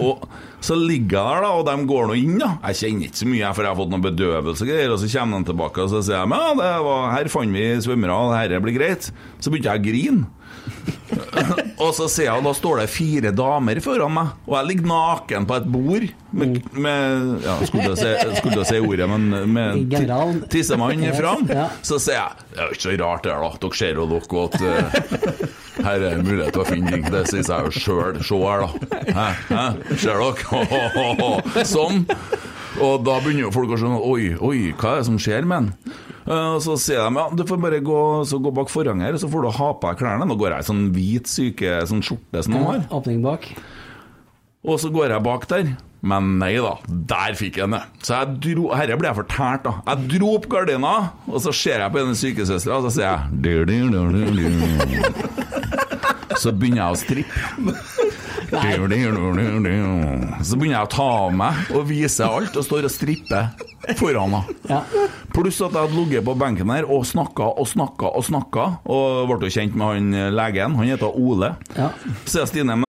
Speaker 2: Og så ligger jeg der, da, og de går nå inn. da Jeg kjenner ikke så mye, jeg, for jeg har fått noe bedøvelse og greier. Og så kommer de tilbake og så sier de, ja, det var, her fant vi svømmere, og dette blir greit. Så begynte jeg å grine. Og så ser jeg, og da står det fire damer foran meg, og jeg ligger naken på et bord med, med ja, skulle til å si- skulle til å si ordet, men med ti-
Speaker 3: General.
Speaker 2: tissemann fram.
Speaker 3: Ja.
Speaker 2: Så sier jeg Det er jo ikke så rart, det her, da. Dere ser jo dere også at eh, her er det mulighet til å finne ting. Det sier jeg jo sjøl. Se her, da. Hæ? Hæ? Ser dere? Ho, ho, ho, ho. Sånn. Og da begynner jo folk å skjønne Oi, oi, hva er det som skjer med han? Eh, Og så sier de ja, du får bare gå, så gå bak forhenget her, og så får du ha på deg klærne. Nå går jeg i sånn hvit syke, sånn skjorte som de har.
Speaker 3: Åpning bak.
Speaker 2: Og så går jeg bak der. Men nei da, der fikk jeg den. Så jeg dro Herre ble jeg fortært, da. Jeg dro opp gardina, og så ser jeg på denne sykesøstera, og så sier jeg du, du, du, du, du. Så begynner jeg å strippe. Du, du, du, du, du. Så begynner jeg å ta av meg og vise alt, og står og stripper foran henne.
Speaker 3: Ja.
Speaker 2: Pluss at jeg hadde ligget på benken her og snakka og snakka og snakka, og ble jo kjent med han eh, legen. Han heter Ole.
Speaker 3: Ja.
Speaker 2: Så sier jeg, Stine, men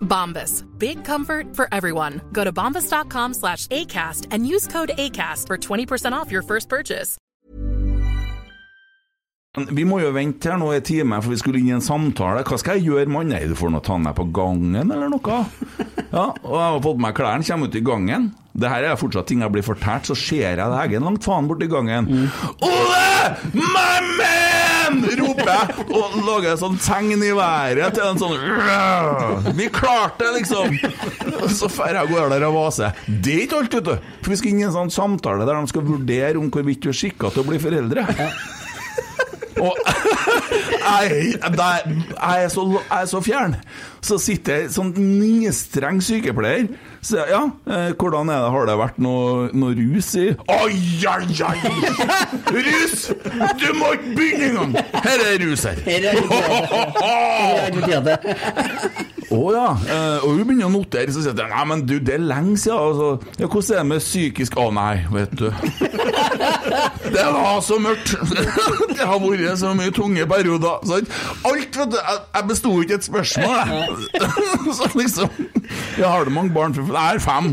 Speaker 6: Bombas. Big comfort for everyone. Go to bombas.com slash ACAST and use code ACAST for 20% off your first purchase.
Speaker 2: Vi må jo vente her nå en time, for vi skulle inn i en samtale. Hva skal jeg gjøre, mann? Nei, du får nå ta meg på gangen, eller noe. Ja, og jeg har fått på meg klærne, kommer ut i gangen. Det her er fortsatt ting jeg blir fortært, så ser jeg det Eggen langt faen borti gangen. Ole! My man! roper jeg, og lager en sånn tegn i været til en sånn Vi klarte det, liksom! Og så drar jeg av gårde der og vaser. Det er ikke alt, vet du. For vi skal inn i en sånn samtale der de skal vurdere om hvorvidt du er skikka til å bli foreldre. Og jeg, der, jeg, er så, jeg er så fjern. Så sitter jeg som nistreng sykepleier. Så jeg, ja, eh, hvordan er det? Har det vært noe, noe rus i Oi, oi, oi! Rus! Du må ikke begynne engang! Her er rus her.
Speaker 3: Her er
Speaker 2: Å
Speaker 3: aktiviteter.
Speaker 2: ja. Eh, Og hun begynner å notere, så sier jeg nei, men du, det er lenge siden. Altså. Ja, hvordan er det med psykisk Å nei, vet du. Det var så mørkt. Det har vært så mye tunge perioder. Sant? Alt, vet du. Jeg, jeg besto ikke et spørsmål, jeg. Så liksom Ja, har du mange barn? Jeg er fem.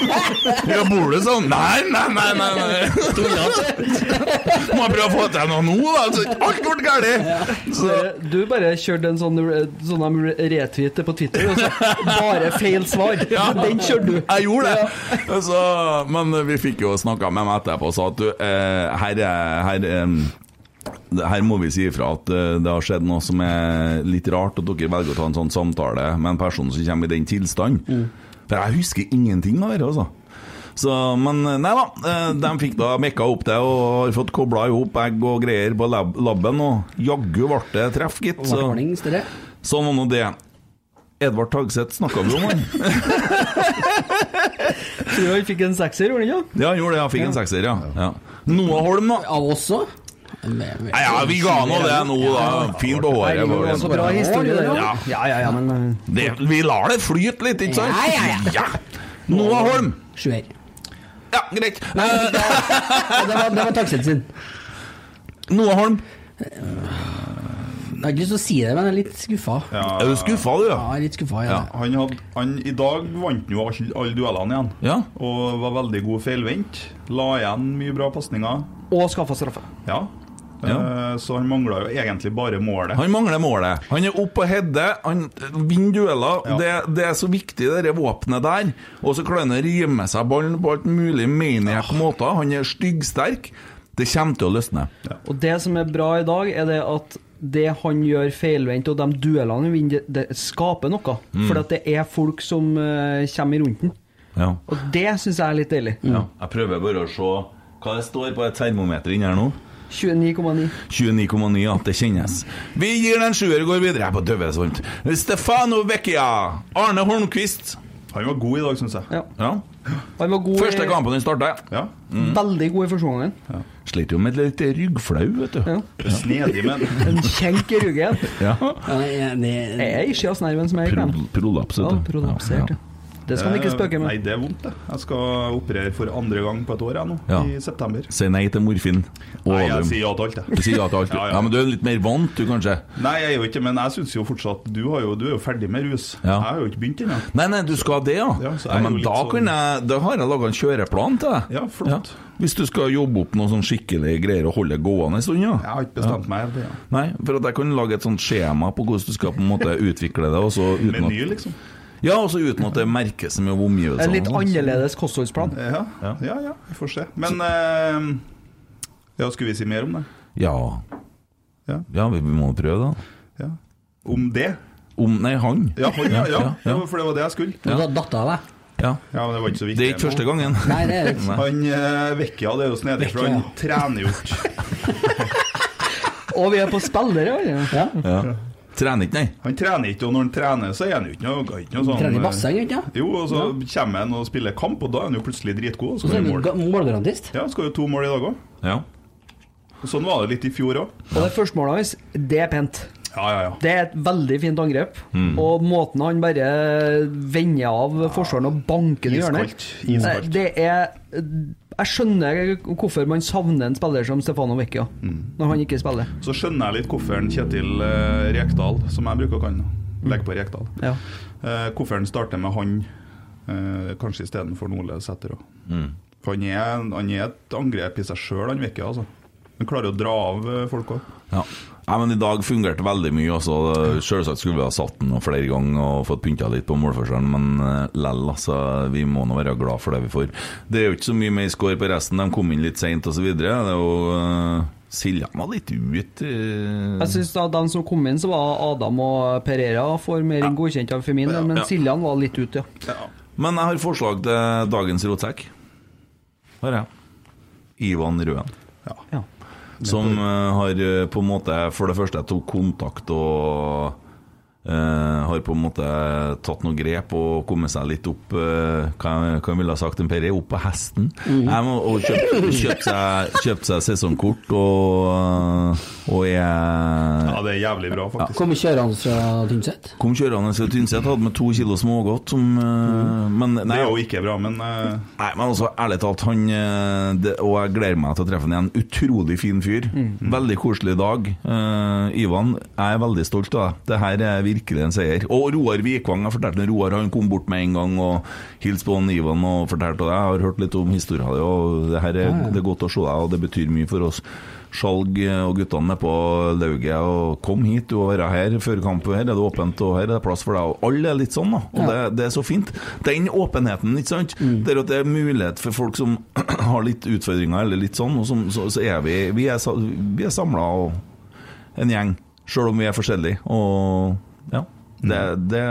Speaker 2: Ja, bor du sånn? Nei, nei, nei. nei, nei. Må jeg prøve å få til noe nå, da? Så Alt ble galt. Så
Speaker 5: Du bare kjørte en sånn, re- sånn de retweeter på Twitter, og så bare feil svar. Den kjørte du.
Speaker 2: Jeg gjorde det! Så, men vi fikk jo snakka med meg etterpå og sa at du, eh, her, er- her, em, det- her må vi si ifra at eh, det har skjedd noe som er litt rart, og dere velger å ta en sånn samtale med en person som kommer i den tilstanden.
Speaker 3: Mm.
Speaker 2: For jeg husker ingenting av dette, altså. Så, men nei da, eh, de fikk da mekka opp det og har fått kobla i hop egg og greier på lab labben, og jaggu ble det treff, gitt.
Speaker 3: Ble
Speaker 2: Så,
Speaker 3: ordning større.
Speaker 2: sånn var nå det. Edvard Tagseth snakka vi om, han.
Speaker 5: Tror du han fikk en sekser, gjorde han ikke?
Speaker 2: Ja, han gjorde det. Han fikk en sekser, ja. ja. Noah Holm, da.
Speaker 3: Av oss òg? Nei,
Speaker 2: Nei, ja, vi ga nå det nå, da. Fint på håret.
Speaker 5: Det var
Speaker 2: var
Speaker 5: så
Speaker 2: det.
Speaker 5: bra historie, det.
Speaker 2: Ja.
Speaker 5: Ja, ja, ja, men eh,
Speaker 2: Det, vi lar det flyte litt, ikke sant?
Speaker 3: Ja, ja,
Speaker 2: ja. Noah Holm.
Speaker 3: Sjuer.
Speaker 2: Ja, greit.
Speaker 3: Nei,
Speaker 2: Eh,
Speaker 3: Det var, det var takseten sin.
Speaker 2: Noah Holm.
Speaker 3: Jeg har ikke lyst til å si det, men jeg er litt skuffa. Ja,
Speaker 2: Er du skuffa, du? ja?
Speaker 3: jeg er litt skuffa. Ja.
Speaker 4: Han hadde, han, I dag vant han jo alle alle duellene igjen.
Speaker 2: Ja.
Speaker 4: Og var veldig god feilvendt. La igjen mye bra pasninger.
Speaker 5: Og skaffa straffe.
Speaker 4: Ja.
Speaker 2: Ja.
Speaker 4: Eh, Så han mangla jo egentlig bare målet.
Speaker 2: Han mangler målet. Han er oppe og header, han vinner dueller.
Speaker 4: Ja.
Speaker 2: Det, det er så viktig, det der våpenet der. Og så klarer han å rime seg ballen på alt mulig maniac måter. Han er styggsterk. Det kommer til å løsne.
Speaker 5: Og det som er bra i dag, er det at det han gjør feilvendt, og de duellene han vinner, det, det skaper noe. For at det er folk som eh, kommer i runden.
Speaker 2: Ja.
Speaker 5: Og det syns jeg er litt deilig.
Speaker 3: Mm.
Speaker 2: ja. Jeg prøver bare å se hva det står på et termometer inni her nå.
Speaker 5: 29,9.
Speaker 2: 29,9, ja, det kjennes. Vi gir den en sjuer og går videre. Jeg er på døve svart. Stefano Vecchia. Arne Holmquist.
Speaker 4: Han var god i dag, syns jeg.
Speaker 5: Ja.
Speaker 2: Ja.
Speaker 5: Han var god
Speaker 2: Første
Speaker 5: i-
Speaker 2: kampen han starter.
Speaker 4: Ja.
Speaker 5: Veldig god i første omgangen.
Speaker 2: Slet jo med litt ryggflau, vet du.
Speaker 5: Ja.
Speaker 4: Snedig, men
Speaker 5: En kjenk i ryggen.
Speaker 2: Ja.
Speaker 3: Ja, det- det-
Speaker 5: Det er ischiasnerven som er i
Speaker 2: Pro,
Speaker 5: klem.
Speaker 2: prolaps,
Speaker 5: Ja,
Speaker 2: vet du.
Speaker 5: prolapsert.
Speaker 2: Ja,
Speaker 5: ja. Det skal man ikke spøke
Speaker 4: Nei,
Speaker 5: med.
Speaker 4: det er vondt, det. Jeg skal operere for andre gang på et år, jeg nå.
Speaker 2: Ja.
Speaker 4: I september.
Speaker 2: ja. Si nei til morfin. Og
Speaker 4: Nei, jeg
Speaker 2: valium.
Speaker 4: sier ja til alt,
Speaker 2: Du
Speaker 4: jeg.
Speaker 2: sier ja til alt. du.
Speaker 4: Ja, ja.
Speaker 2: Ja, men du er litt mer vant, du, kanskje?
Speaker 4: Nei, jeg er jo ikke men jeg syns jo fortsatt Du, har jo, du er jo ferdig med rus.
Speaker 2: Ja.
Speaker 4: Jeg har jo ikke begynt ennå.
Speaker 2: Nei, nei, du skal ha det, ja?
Speaker 4: Ja, så er
Speaker 2: ja
Speaker 4: jeg
Speaker 2: men
Speaker 4: jo litt
Speaker 2: da,
Speaker 4: sånn-
Speaker 2: kan jeg, da har jeg laga en kjøreplan til deg.
Speaker 4: Ja, flott.
Speaker 2: Hvis du skal jobbe opp noe sånn skikkelig greier og holde det gående en stund, ja. Jeg
Speaker 4: har ikke bestemt meg helt, ja.
Speaker 2: Nei, for at jeg kan lage et sånt skjema på hvordan du skal på en måte utvikle det. og så uten at-
Speaker 4: Meny, liksom.
Speaker 2: Ja, også uten at det merkes med omgivelsene.
Speaker 5: En litt
Speaker 2: og sånn.
Speaker 5: annerledes kostholdsplan.
Speaker 4: Ja, ja, ja, vi får se. Men eh, Ja, skulle vi si mer om det?
Speaker 2: Ja.
Speaker 4: Ja.
Speaker 2: vi vi må prøve, da.
Speaker 4: Ja. Om det?
Speaker 2: Om Nei, han.
Speaker 4: Ja, ja, ja,
Speaker 2: ja, ja.
Speaker 4: for det var det jeg skulle.
Speaker 2: Ja.
Speaker 3: Da datt av deg.
Speaker 2: Ja.
Speaker 4: Ja, men Det var ikke så viktig.
Speaker 2: Det er ikke første gangen.
Speaker 3: Nei, det er det
Speaker 2: Nei.
Speaker 3: ikke.
Speaker 4: Han uh, Vekkia, det er jo snedig, for han trener jo ikke.
Speaker 5: Og vi er på spillere, ja.
Speaker 3: Ja.
Speaker 2: Ja. Trener ikke, nei.
Speaker 4: Han trener ikke, og når han trener, så er han jo ikke noe, ikke noe sånn
Speaker 3: Trener i
Speaker 4: eh,
Speaker 3: basseng, ikke sant?
Speaker 4: Jo, og så kommer han og spiller kamp, og da er han jo plutselig dritgod, og
Speaker 3: Og så
Speaker 4: så skårer
Speaker 3: er du
Speaker 4: han mål.
Speaker 3: ga- målgarantist.
Speaker 4: Ja, skårer jo to mål i dag òg.
Speaker 2: Ja.
Speaker 4: Sånn var det litt i fjor òg.
Speaker 5: Og det første målet hans, det er pent.
Speaker 4: Ja, ja, ja.
Speaker 5: Det er et veldig fint angrep.
Speaker 2: Mm.
Speaker 5: Og måten han bare vender av forsvaren og banker den i hjørnet eh,
Speaker 4: Iskaldt, iskaldt.
Speaker 5: Det er Jeg skjønner hvorfor man savner en spiller som Stefano Vecchia
Speaker 2: Mm.
Speaker 5: når han ikke spiller.
Speaker 4: Så skjønner jeg litt hvorfor han Kjetil eh, Rekdal, som jeg bruker å kalle han, legger på Rekdal,
Speaker 5: Ja.
Speaker 4: eh, hvorfor han starter med han eh, kanskje istedenfor Ole Sæter òg. For han er, han er et angrep i seg sjøl, han Vekkia, altså. Han klarer å dra av eh, folk òg.
Speaker 2: Ja. Nei, men I dag fungerte veldig mye. Altså, Selvsagt skulle vi ha satt den noe flere ganger og fått pynta litt på målforskjellen, men eh, lell, altså. Vi må nå være glad for det vi får. Det er jo ikke så mye mer score på resten. De kom inn litt seint osv. Uh, Siljan var litt eh. ute.
Speaker 5: Jeg syns de som kom inn, så var Adam og Pereira for mer enn godkjent av Femin,
Speaker 2: Ja,
Speaker 5: men
Speaker 2: ja.
Speaker 5: Siljan var litt ute, ja.
Speaker 2: Men jeg har forslag til dagens rotsekk. Her er jeg. Ivan Røen.
Speaker 5: ja.
Speaker 2: Som eh, har eh, på en måte For det første tok kontakt og eh, har på en måte tatt noen grep og kommet seg litt opp eh, Hva jeg- hva jeg ville ha sagt en Perre? Opp på hesten.
Speaker 4: Mhm.
Speaker 2: Jeg må, og kjøpt, kjøpt, seg, kjøpt seg sesongkort og, eh, og
Speaker 4: Ja,
Speaker 2: jeg
Speaker 4: det er jævlig bra, faktisk.
Speaker 3: Kommer kjørende fra Tynset.
Speaker 2: kom kjørende fra Tynset, hadde med to kilo smågodt som eh, Men
Speaker 4: Mhm. Det
Speaker 2: nei,
Speaker 4: er jo ikke bra, men eh,
Speaker 2: Nei, men altså, ærlig talt, han eh, det, Og jeg gleder meg til å treffe han igjen. Utrolig fin fyr. Veldig koselig dag. Eh, Ivan, jeg er veldig stolt av deg. Det her er virkelig en seier. Og Roar Vikvang, jeg fortalte om Roar, han kom bort med en gang og hilste på han Ivan og fortalte det. Jeg har hørt litt om historien din, og det her er, det er godt å se deg, og det betyr mye for oss. Skjalg eh, og guttene nede på lauget og kom hit, du må være her før kamp. Her er det åpent, og her er det plass for deg. Og alle er litt sånn, da. Og det, det er så fint. Den åpenheten, ikke sant. Der at det er mulighet for folk som har litt utfordringer, eller litt sånn, og som, så, så er vi Vi er, sa- vi er samla og en gjeng, sjøl om vi er forskjellige. Og ja. Det, det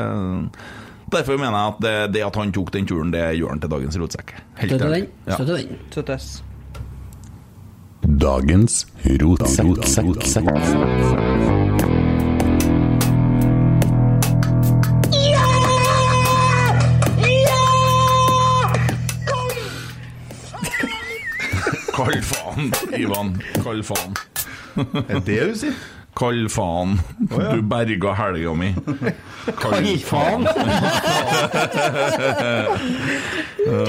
Speaker 2: Derfor mener jeg at det, det at han tok den turen, det gjør han til dagens rotsekk. Helt
Speaker 3: Støtter
Speaker 2: ærlig.
Speaker 3: den.
Speaker 2: Ja.
Speaker 3: Støtter den.
Speaker 5: Søttes.
Speaker 7: Dagens rotsekk.
Speaker 2: Kall faen, Ivan. Kall faen.
Speaker 4: er det det du sier?
Speaker 2: Kall faen. Du berga helga mi. Kall faen.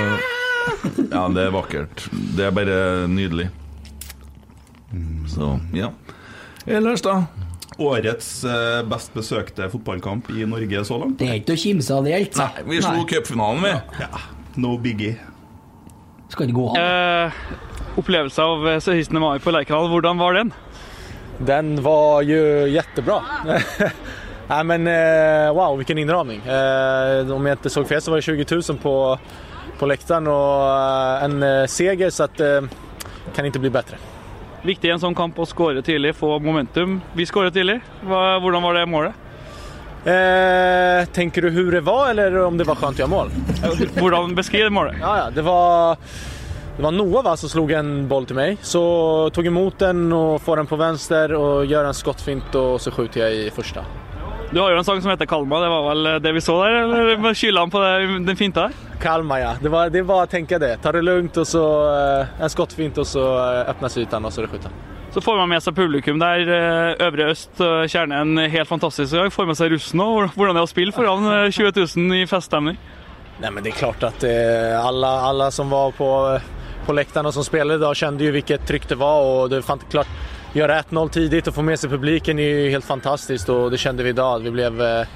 Speaker 2: ja, det er vakkert. Det er bare nydelig. Så, ja. Ellers, da?
Speaker 4: Årets eh, best besøkte fotballkamp i Norge så langt?
Speaker 3: Det er ikke å kimse av det helt.
Speaker 2: Nei, vi slo cupfinalen, vi.
Speaker 4: No biggie.
Speaker 3: Skal ikke gå an.
Speaker 8: Eh, Opplevelse av 16. mai på Lerkendal, hvordan var den?
Speaker 7: Den var ju jättebra. Nej, men eh, wow, vilken inramning. Eh, Om jag inte såg fel så var det 20 000 på, på läktaren och eh, en eh, seger så att eh, kan inte bli bättre.
Speaker 8: Viktig i en sånn kamp å skåre tidlig, få momentum. Vi skåret tidlig. Hva, hvordan var det målet?
Speaker 7: Eh, Tänker du hur det var eller om det var skönt att göra mål?
Speaker 8: Hvordan beskriv målet?
Speaker 7: Ja, ja, det var, det var Noah va, som slog en boll till mig. Så tog emot den och får den på vänster och gör en skottfint och så skjuter jag i första.
Speaker 8: Du har jo en sang som heter 'Kalma'. Det var vel eh, det vi så der? Eller skylder han på det, den finta der?
Speaker 7: Kalmar ja, det var, det var att tänka det. Ta det lugnt och så eh, en skottfint och så eh, öppnas ytan och så är det skjuta.
Speaker 8: Så får man med seg publikum der. eh, Øvre Øst eh, kjerne en helt fantastisk dag. Får med seg russen òg. Hvordan er det å spille foran eh, 20 000 i feststemning?
Speaker 7: Nej men det är klart att eh, alla, alla som var på, på läktaren och som spelade idag kände ju vilket tryck det var och det fanns klart göra 1-0 tidigt och få med sig publiken är ju helt fantastiskt och det kände vi idag. Vi, blev, eh,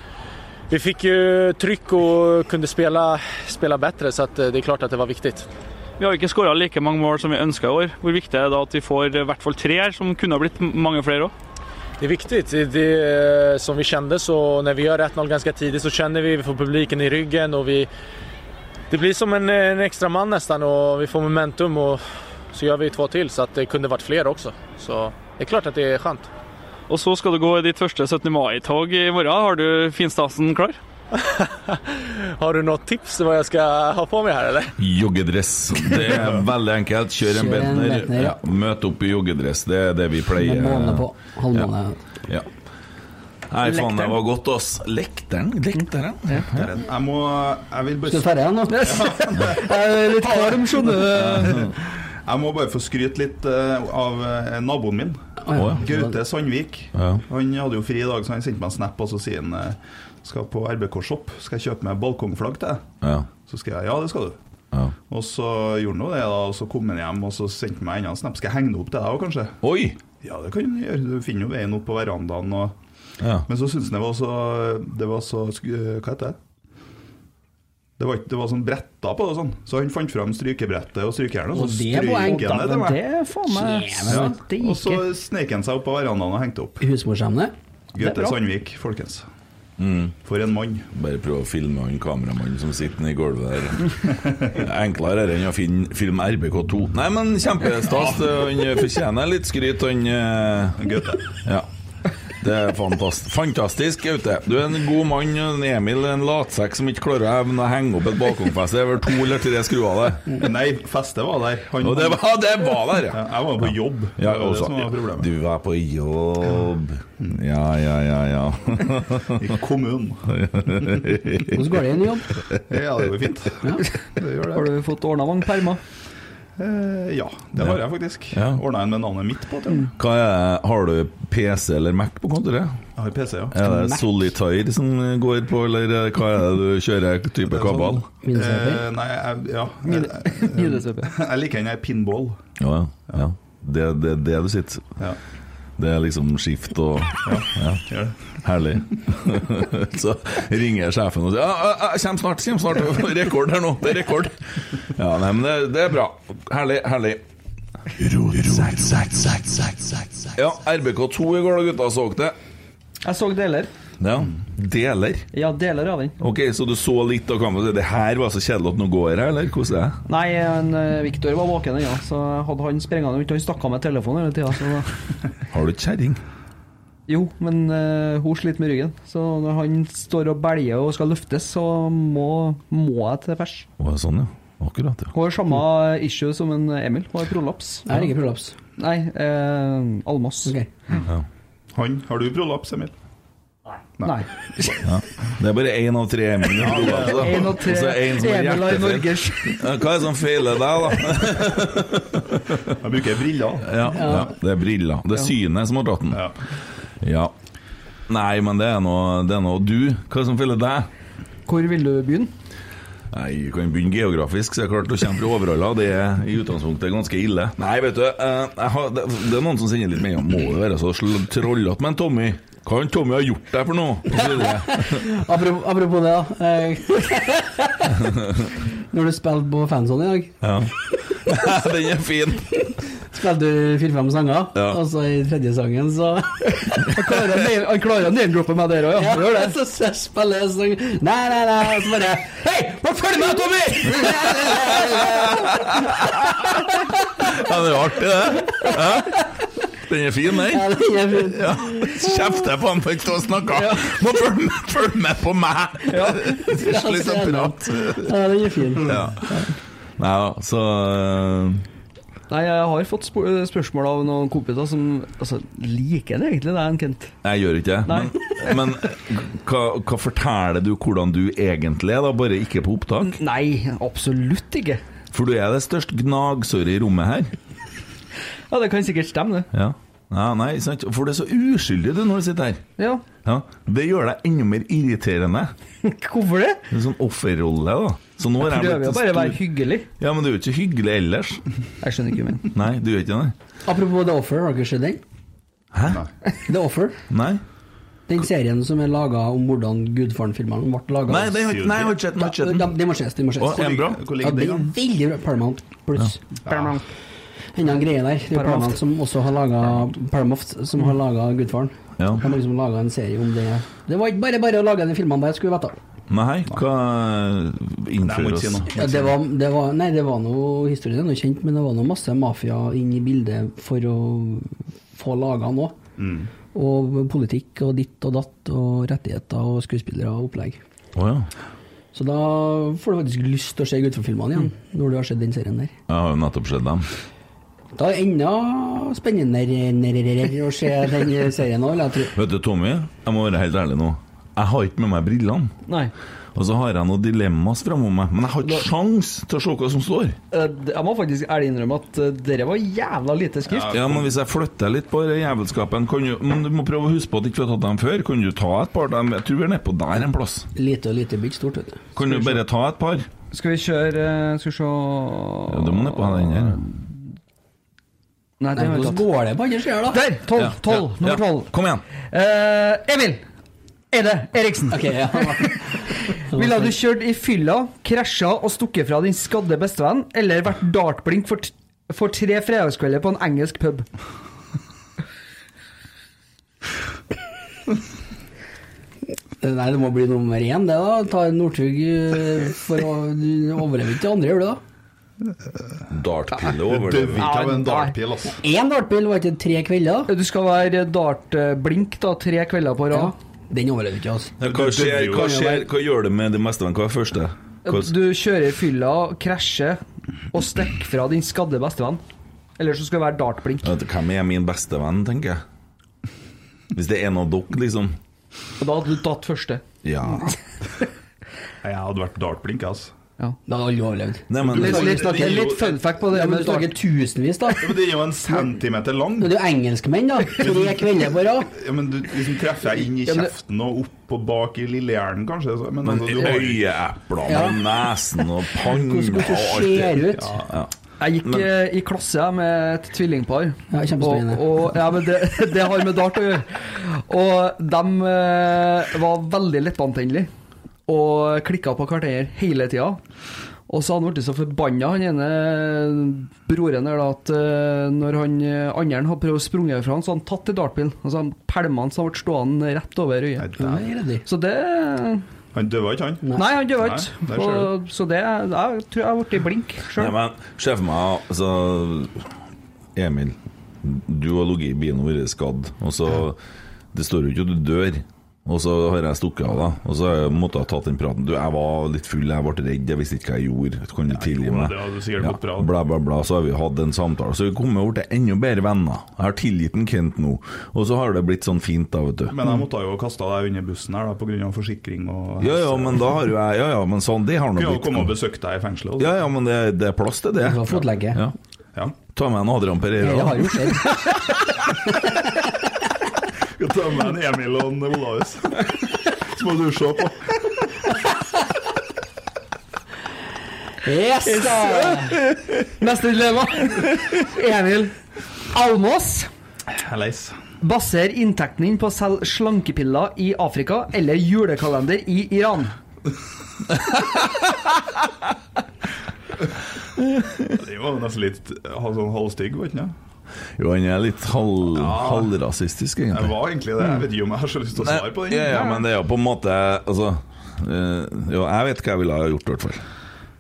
Speaker 7: vi fick ju tryck och kunde spela, spela bättre så att, eh, det är klart att det var viktigt.
Speaker 8: Vi har jo ikke skåra like mange mål som vi ønska i år. Hvor viktig er det da at vi får eh, i hvert fall tre her, som kunne ha blitt mange flere òg?
Speaker 7: Det är viktigt. Det, eh, som vi kände så när vi gör 1-0 ganska tidigt så känner vi, vi får publiken i ryggen och vi... Det blir som en, eh, en extra man nästan och vi får momentum och så gör vi två till så att det kunde varit fler också. Så det är klart att det är skönt.
Speaker 8: Og så skal du gå i ditt første 17. mai-tog i morgen. Har du finstasen klar?
Speaker 7: Har du något tips vad jag ska ha på mig här eller?
Speaker 2: Joggedress. Det er veldig enkelt. Kjør
Speaker 7: Kjør en
Speaker 2: en Bentner.
Speaker 7: Bentner,
Speaker 2: Ja,
Speaker 7: ja.
Speaker 2: møt opp i joggedress. Det er det vi pleier.
Speaker 3: Med måne på. Halvmåne.
Speaker 2: Ja. Nei, faen, det var godt, ass. Lekteren? Lekteren? Lekteren.
Speaker 4: Jeg må Jeg vil bare
Speaker 3: Skal du ta det igjen nå? Jeg er litt varm, skjønner du.
Speaker 4: Jeg må bare få skryte litt eh, av eh, naboen min.
Speaker 2: Å, ja.
Speaker 4: Gaute Sandvik.
Speaker 2: Ja.
Speaker 4: Han hadde jo fri i dag, så han sendte meg en snap, og så sier han eh, skal på RBK Shop, skal jeg kjøpe meg balkongflagg til deg?
Speaker 2: Ja.
Speaker 4: Så skrev jeg ja, det skal du. Og så gjorde han jo det, da, og så kom han hjem og så sendte han meg enda en snap. Skal jeg henge det opp til deg òg, kanskje?
Speaker 2: Oi!
Speaker 4: Ja, det kan du gjøre. Du finner jo veien opp på verandaen. Og...
Speaker 2: Ja.
Speaker 4: Men så syntes han det var så Det var så sk- eh, Hva heter det? Det var, ikke- det var sånn bretter på det og sånn. Så han fant fram strykebrettet og strykejernet, og så
Speaker 3: Og det er
Speaker 4: stryker han
Speaker 3: poeng.
Speaker 4: det til meg.
Speaker 3: Det er faen meg-
Speaker 4: Ja.
Speaker 3: Jævla steike.
Speaker 4: Og så snek han seg opp på verandaen og hengte opp.
Speaker 3: Husmorsemne? Det er
Speaker 4: Gaute
Speaker 3: bra.
Speaker 4: Sandvik, folkens.
Speaker 2: Mm.
Speaker 4: For en mann.
Speaker 2: Bare prøv å filme han kameramannen som sitter nede i gulvet der. Enklere er det enn å finne, filme RBK2. Nei, men kjempestas. Han fortjener litt skryt, han eh,
Speaker 4: Gaute.
Speaker 2: Ja. Det er fantastisk. Fantastisk, Gaute. Du er en god mann. og en Emil er en latsekk som ikke klarer å evne å henge opp et balkongfeste over to eller tre skruer der.
Speaker 4: Nei, festet var der. Han-
Speaker 2: Og det var, det var der, ja.
Speaker 4: Jeg var på jobb.
Speaker 2: Ja,
Speaker 4: det var det
Speaker 2: også,
Speaker 4: som var problemet.
Speaker 2: du var på jobb Ja, ja, ja, ja.
Speaker 4: I kommunen.
Speaker 2: Hvordan
Speaker 3: går det inn i jobb?
Speaker 4: Ja, det går fint. Det gjør det.
Speaker 5: Har du fått ordna mange permer?
Speaker 4: Eh, ja, det var jeg faktisk.
Speaker 2: Ja.
Speaker 4: Ordna en med navnet mitt på. til og med.
Speaker 2: Hva er, har du PC eller Mac på kontoret?
Speaker 4: Jeg har PC, ja.
Speaker 2: Er det Solitaire som går på, eller eh, hva er sånn- det du kjører type kabal?
Speaker 4: Eh, nei, jeg, ja. Jeg, jeg liker den der pinball.
Speaker 2: Ja, ja, ja. Det er det, det du sitter
Speaker 4: Ja.
Speaker 2: Det er liksom skift og ja. Herlig. Så ringer sjefen og sier ja, ja, ja, 'Kjem snart, kjem snart'. Rekord her nå. Det er rekord. Ja, nei, men det, det er bra. Herlig, herlig. Ja, RBK2 i går da, gutta. Så dere det?
Speaker 5: Jeg så deler.
Speaker 2: Ja. Deler.
Speaker 5: Ja, deler av den.
Speaker 2: Ok, så du så litt av kampen. Det her var så kjedelig at nå går jeg, eller? Hvordan er det?
Speaker 5: Nei, han, eh, Victor var våken ennå, så hadde han sprengende rundt. Han stakk av med telefonen hele tida. Så
Speaker 2: Har du ikke kjerring?
Speaker 5: jo, men eh, hun sliter med ryggen. Så når han står og belger og skal løftes, så må, må jeg til pers.
Speaker 2: Å, Sånn, ja. Akkurat, ja.
Speaker 5: Hun har samme issue som en Emil. Hun har prolaps.
Speaker 3: Jeg har ikke prolaps.
Speaker 5: Nei, eh, Almås.
Speaker 2: ja.
Speaker 4: Han, har du prolaps, Emil?
Speaker 5: Nei.
Speaker 2: Ja. Det er bare én av tre Emil. i
Speaker 5: Ja,
Speaker 2: programmet, da.
Speaker 5: en av tre
Speaker 2: Og sånn. så er en som har
Speaker 5: Emil i
Speaker 2: hjertefeil. Ja, Hva er det som feiler deg, da?
Speaker 4: Jeg bruker briller.
Speaker 2: Ja, ja, det er briller. Det er synet som har tatt den. Ja. Nei, men det er noe, det er noe du. Hva er det som feiler deg?
Speaker 5: Hvor vil du begynne?
Speaker 2: Nei, Vi kan begynne geografisk. så er det klart Du kommer fra Overhalla. Det er i utgangspunktet ganske ille. Nei, vet du, eh, jeg har, det, det er noen som sender litt meldinger. Må det være så trollete med en Tommy? Hva har Tommy ha gjort deg for noe? Og så videre.
Speaker 3: Apropos, apropos det, da. Eh, Når du spilte på fanzone i dag,
Speaker 2: Ja. Den er fin.
Speaker 3: spilte du fire-fem sanger,
Speaker 2: Ja.
Speaker 3: og så i tredje sangen så
Speaker 5: Han klarer å name-droppe meg der òg, ja. Han gjør det.
Speaker 3: Så så spiller jeg sang Nei, nei, nei, og så bare Hei, forfølg meg, Tommy!
Speaker 2: Ja, det er jo artig, det. Hæ? Den er fin, den.
Speaker 3: Ja, den er fin.
Speaker 2: Ja. Kjefter jeg på han for ikke å snakke. Må følge med, følge med på meg!
Speaker 3: Ja.
Speaker 2: Slitt apparat.
Speaker 3: Ja, den er fin.
Speaker 2: Ja. Nei da, så øh,
Speaker 5: Nei, jeg har fått spo- eh, spørsmål av noen kompiser som altså, liker det egentlig, det er en Kent.
Speaker 2: Jeg gjør ikke det.
Speaker 5: Nei.
Speaker 2: Men, men hva, hva forteller du hvordan du egentlig er, da? Bare ikke på opptak?
Speaker 5: Nei, absolutt ikke.
Speaker 2: For du er det største gnagsåret i rommet her.
Speaker 5: Ja, det kan sikkert stemme, det.
Speaker 2: Ja. Ja, nei, sant? For det er så uskyldig du når du sitter her.
Speaker 5: Ja.
Speaker 2: Ja, Det gjør deg enda mer irriterende.
Speaker 5: Hvorfor det?
Speaker 2: En sånn offerrolle, da. Så nå har
Speaker 5: Jeg prøver
Speaker 2: blitt
Speaker 5: jo
Speaker 2: en
Speaker 5: bare å
Speaker 2: stor-
Speaker 5: være hyggelig.
Speaker 2: Ja, men du er jo ikke hyggelig ellers.
Speaker 5: Jeg skjønner ikke min.
Speaker 2: Nei, du gjør ikke det?
Speaker 3: Apropos The Offer, har dere sett den?
Speaker 2: Hæ?
Speaker 3: The Offer?
Speaker 2: Nei?
Speaker 3: Den serien som er laga om hvordan Gudfaren-filmene ble laga
Speaker 2: Nei, den har ikke- nei, jeg har ikke sett den, jeg har ikke sett den.
Speaker 3: Den må ses. Den må ses.
Speaker 2: Å, er den bra? Hvor ligger
Speaker 3: Ja, den er
Speaker 2: den,
Speaker 3: veldig bra. Paramount pluss.
Speaker 2: Ja. Paramount.
Speaker 3: Enda en greie der. Det er jo
Speaker 2: Paramount.
Speaker 3: Paramount som også har laga Paramoft, som har laga Gudfaren.
Speaker 2: Ja.
Speaker 3: De har liksom laga en serie om det. Det var ikke bare bare å lage de filmene der, skulle du vite.
Speaker 2: Nei, hva innfører oss?
Speaker 3: Ja, det, var, det var Nei, det var noe historien er noe kjent, men det var noe masse mafia inn i bildet for å få laga noe.
Speaker 2: Mm.
Speaker 3: Og politikk og ditt og datt og rettigheter og skuespillere og opplegg.
Speaker 2: Å, ja.
Speaker 3: Så da får du faktisk lyst til å se Gudfar-filmene igjen, når du har sett den serien der.
Speaker 2: Jeg har jo nettopp sett dem.
Speaker 3: Da er det enda spennende å se den serien òg, vil jeg tro.
Speaker 2: Vet du, Tommy, jeg må være helt ærlig nå. Jeg har ikke med meg brillene.
Speaker 5: Nei.
Speaker 2: Og så har jeg noen dilemmas framom meg, men jeg har ikke sjans til å se hva som står.
Speaker 5: Eh, d- Jeg må faktisk ærlig innrømme at eh, dere var jævla lite skrift.
Speaker 2: Ja, men Hvis jeg flytter litt på det jævelskapen kan du, Men du må prøve å huske på at du ikke har tatt dem før. Kan du ta et par? Dem? Jeg tror vi er nede på der en plass.
Speaker 3: Lite og lite bygd stort, vet du.
Speaker 2: Kan du bare ta et par?
Speaker 5: Skal vi kjøre eh, Skal vi se
Speaker 2: Ja, du må ned på den her.
Speaker 5: Nei, det har jeg
Speaker 3: Hvordan
Speaker 5: tatt.
Speaker 3: går det på andre sida, da?
Speaker 5: Der! 12,
Speaker 2: Ja,
Speaker 5: 12,
Speaker 2: ja,
Speaker 5: nummer
Speaker 2: ja.
Speaker 5: 12.
Speaker 2: Kom igjen.
Speaker 5: Emil! Eide Eriksen. Ville du kjørt i fylla, krasja og stukket fra din skadde bestevenn, eller vært dartblink for, t for tre fredagskvelder på en engelsk pub?
Speaker 3: Nei, det må bli nummer én, det da. Ta en Northug eh, for å Du overlever ikke det andre, gjør du da?
Speaker 2: Dartpille
Speaker 4: over det. altså?
Speaker 3: Én dartbil var ikke tre kvelder?
Speaker 5: Du skal være dartblink da, tre kvelder på rad.
Speaker 3: Den overlever ikke, altså.
Speaker 2: Ja, Hva, skjer, hva, skjer, hva gjør det med de meste? Hva er første? Hva,
Speaker 5: Du kjører i fylla, krasjer og stikker fra din skadde bestevenn. Eller så skal du være dartblink.
Speaker 2: Vet du, hvem er min beste venn, tenker jeg? Hvis det er en av dere, liksom.
Speaker 5: Og da hadde du tatt første.
Speaker 2: Ja.
Speaker 4: Jeg hadde vært dartblink, altså.
Speaker 5: Ja.
Speaker 3: Da hadde alle overlevd.
Speaker 2: Nei, men-
Speaker 3: litt, litt,
Speaker 4: Det er sånn jo-
Speaker 3: litt fun fact på det.
Speaker 4: Ja, men
Speaker 3: men
Speaker 4: du
Speaker 3: du snakker tusenvis, da.
Speaker 4: Ja, men det er jo en centimeter lang.
Speaker 3: Det er jo engelskmenn, da. Tre kvelder på rad.
Speaker 4: Ja, men du liksom treffer jeg inn i
Speaker 3: Ja, men det-
Speaker 4: kjeften og opp og bak i lillehjernen, kanskje. så- Men,
Speaker 2: Men
Speaker 4: altså, du har-
Speaker 2: øyeepler
Speaker 4: Ja.
Speaker 2: og nesen og panna
Speaker 4: Hvordan-
Speaker 2: og
Speaker 4: hvordan
Speaker 2: alt
Speaker 4: det
Speaker 2: det
Speaker 4: ser ut.
Speaker 2: Ja, ja.
Speaker 5: Jeg gikk
Speaker 2: Men-
Speaker 5: eh, i klasse jeg, med et tvillingpar.
Speaker 3: Ja, kjempespennende.
Speaker 5: Og, og, ja, men det, det har med dart å gjøre. Og de eh, var veldig lettvantennelige og klikka på hverandre hele tida. Og så hadde han blitt så forbanna, han ene broren der, da, at eh, når han eh, andre hadde prøvd å sprunge fra han, så hadde han tatt i dartpilen. Og så hadde han pælma han så han ble stående rett over øyet. Så det
Speaker 4: Han døde ikke, han?
Speaker 5: Nei, han døde
Speaker 4: Nei,
Speaker 5: ikke.
Speaker 4: der ser du.
Speaker 5: Og- Så det jeg tror jeg ble i blink
Speaker 2: Nei,
Speaker 5: sjøl.
Speaker 2: men se for meg altså, Emil, du har ligget i bilen og vært skadd. Og så, det står jo ikke at du dør. Og så har jeg stukket av deg, og så har jeg måttet ha tatt den praten. Du, jeg var litt full, jeg ble redd, jeg visste ikke hva jeg gjorde. Kan du tilgi meg?
Speaker 4: det hadde sikkert gått bra.
Speaker 2: Bla, bla, bla. Så har vi hatt en samtale. Så vi kommer over til enda bedre venner. Jeg har tilgitt en Kent nå. Og så har det blitt sånn fint, da, vet du.
Speaker 4: Men jeg måtte jo ha kasta deg under bussen her, da, pga. forsikring og
Speaker 2: Ja, ja, men da har jo jeg Ja, ja, men sånn, det har
Speaker 4: Kunne
Speaker 2: nå
Speaker 4: jo
Speaker 2: blitt
Speaker 4: komme og besøke deg i fengselet. også.
Speaker 2: Ja, ja, men det, det er plass til det.
Speaker 4: Du har fotlenke.
Speaker 2: Ja.
Speaker 4: Ja.
Speaker 2: Ta med en Adrian Pereira.
Speaker 4: Det har jo
Speaker 3: skjedd.
Speaker 4: Skal ta med en Emil og en Olaus. Så må du se på.
Speaker 3: Yes, da!
Speaker 5: Neste dilemma. Emil Almås.
Speaker 4: Helleis.
Speaker 5: Baser inntekten din på å selge slankepiller i Afrika eller julekalender i Iran?
Speaker 4: Det var jo nesten litt ha sånn halvstygg, var ikke det?
Speaker 2: Jo, han er litt halv, halvrasistisk, egentlig.
Speaker 4: Jeg var egentlig det. Jeg vet ikke om jeg har så lyst til å
Speaker 2: Nei,
Speaker 4: svare på den.
Speaker 2: Ja, ja, men det er jo på en måte Altså eh, Jo, jeg vet hva jeg ville ha gjort, i hvert fall.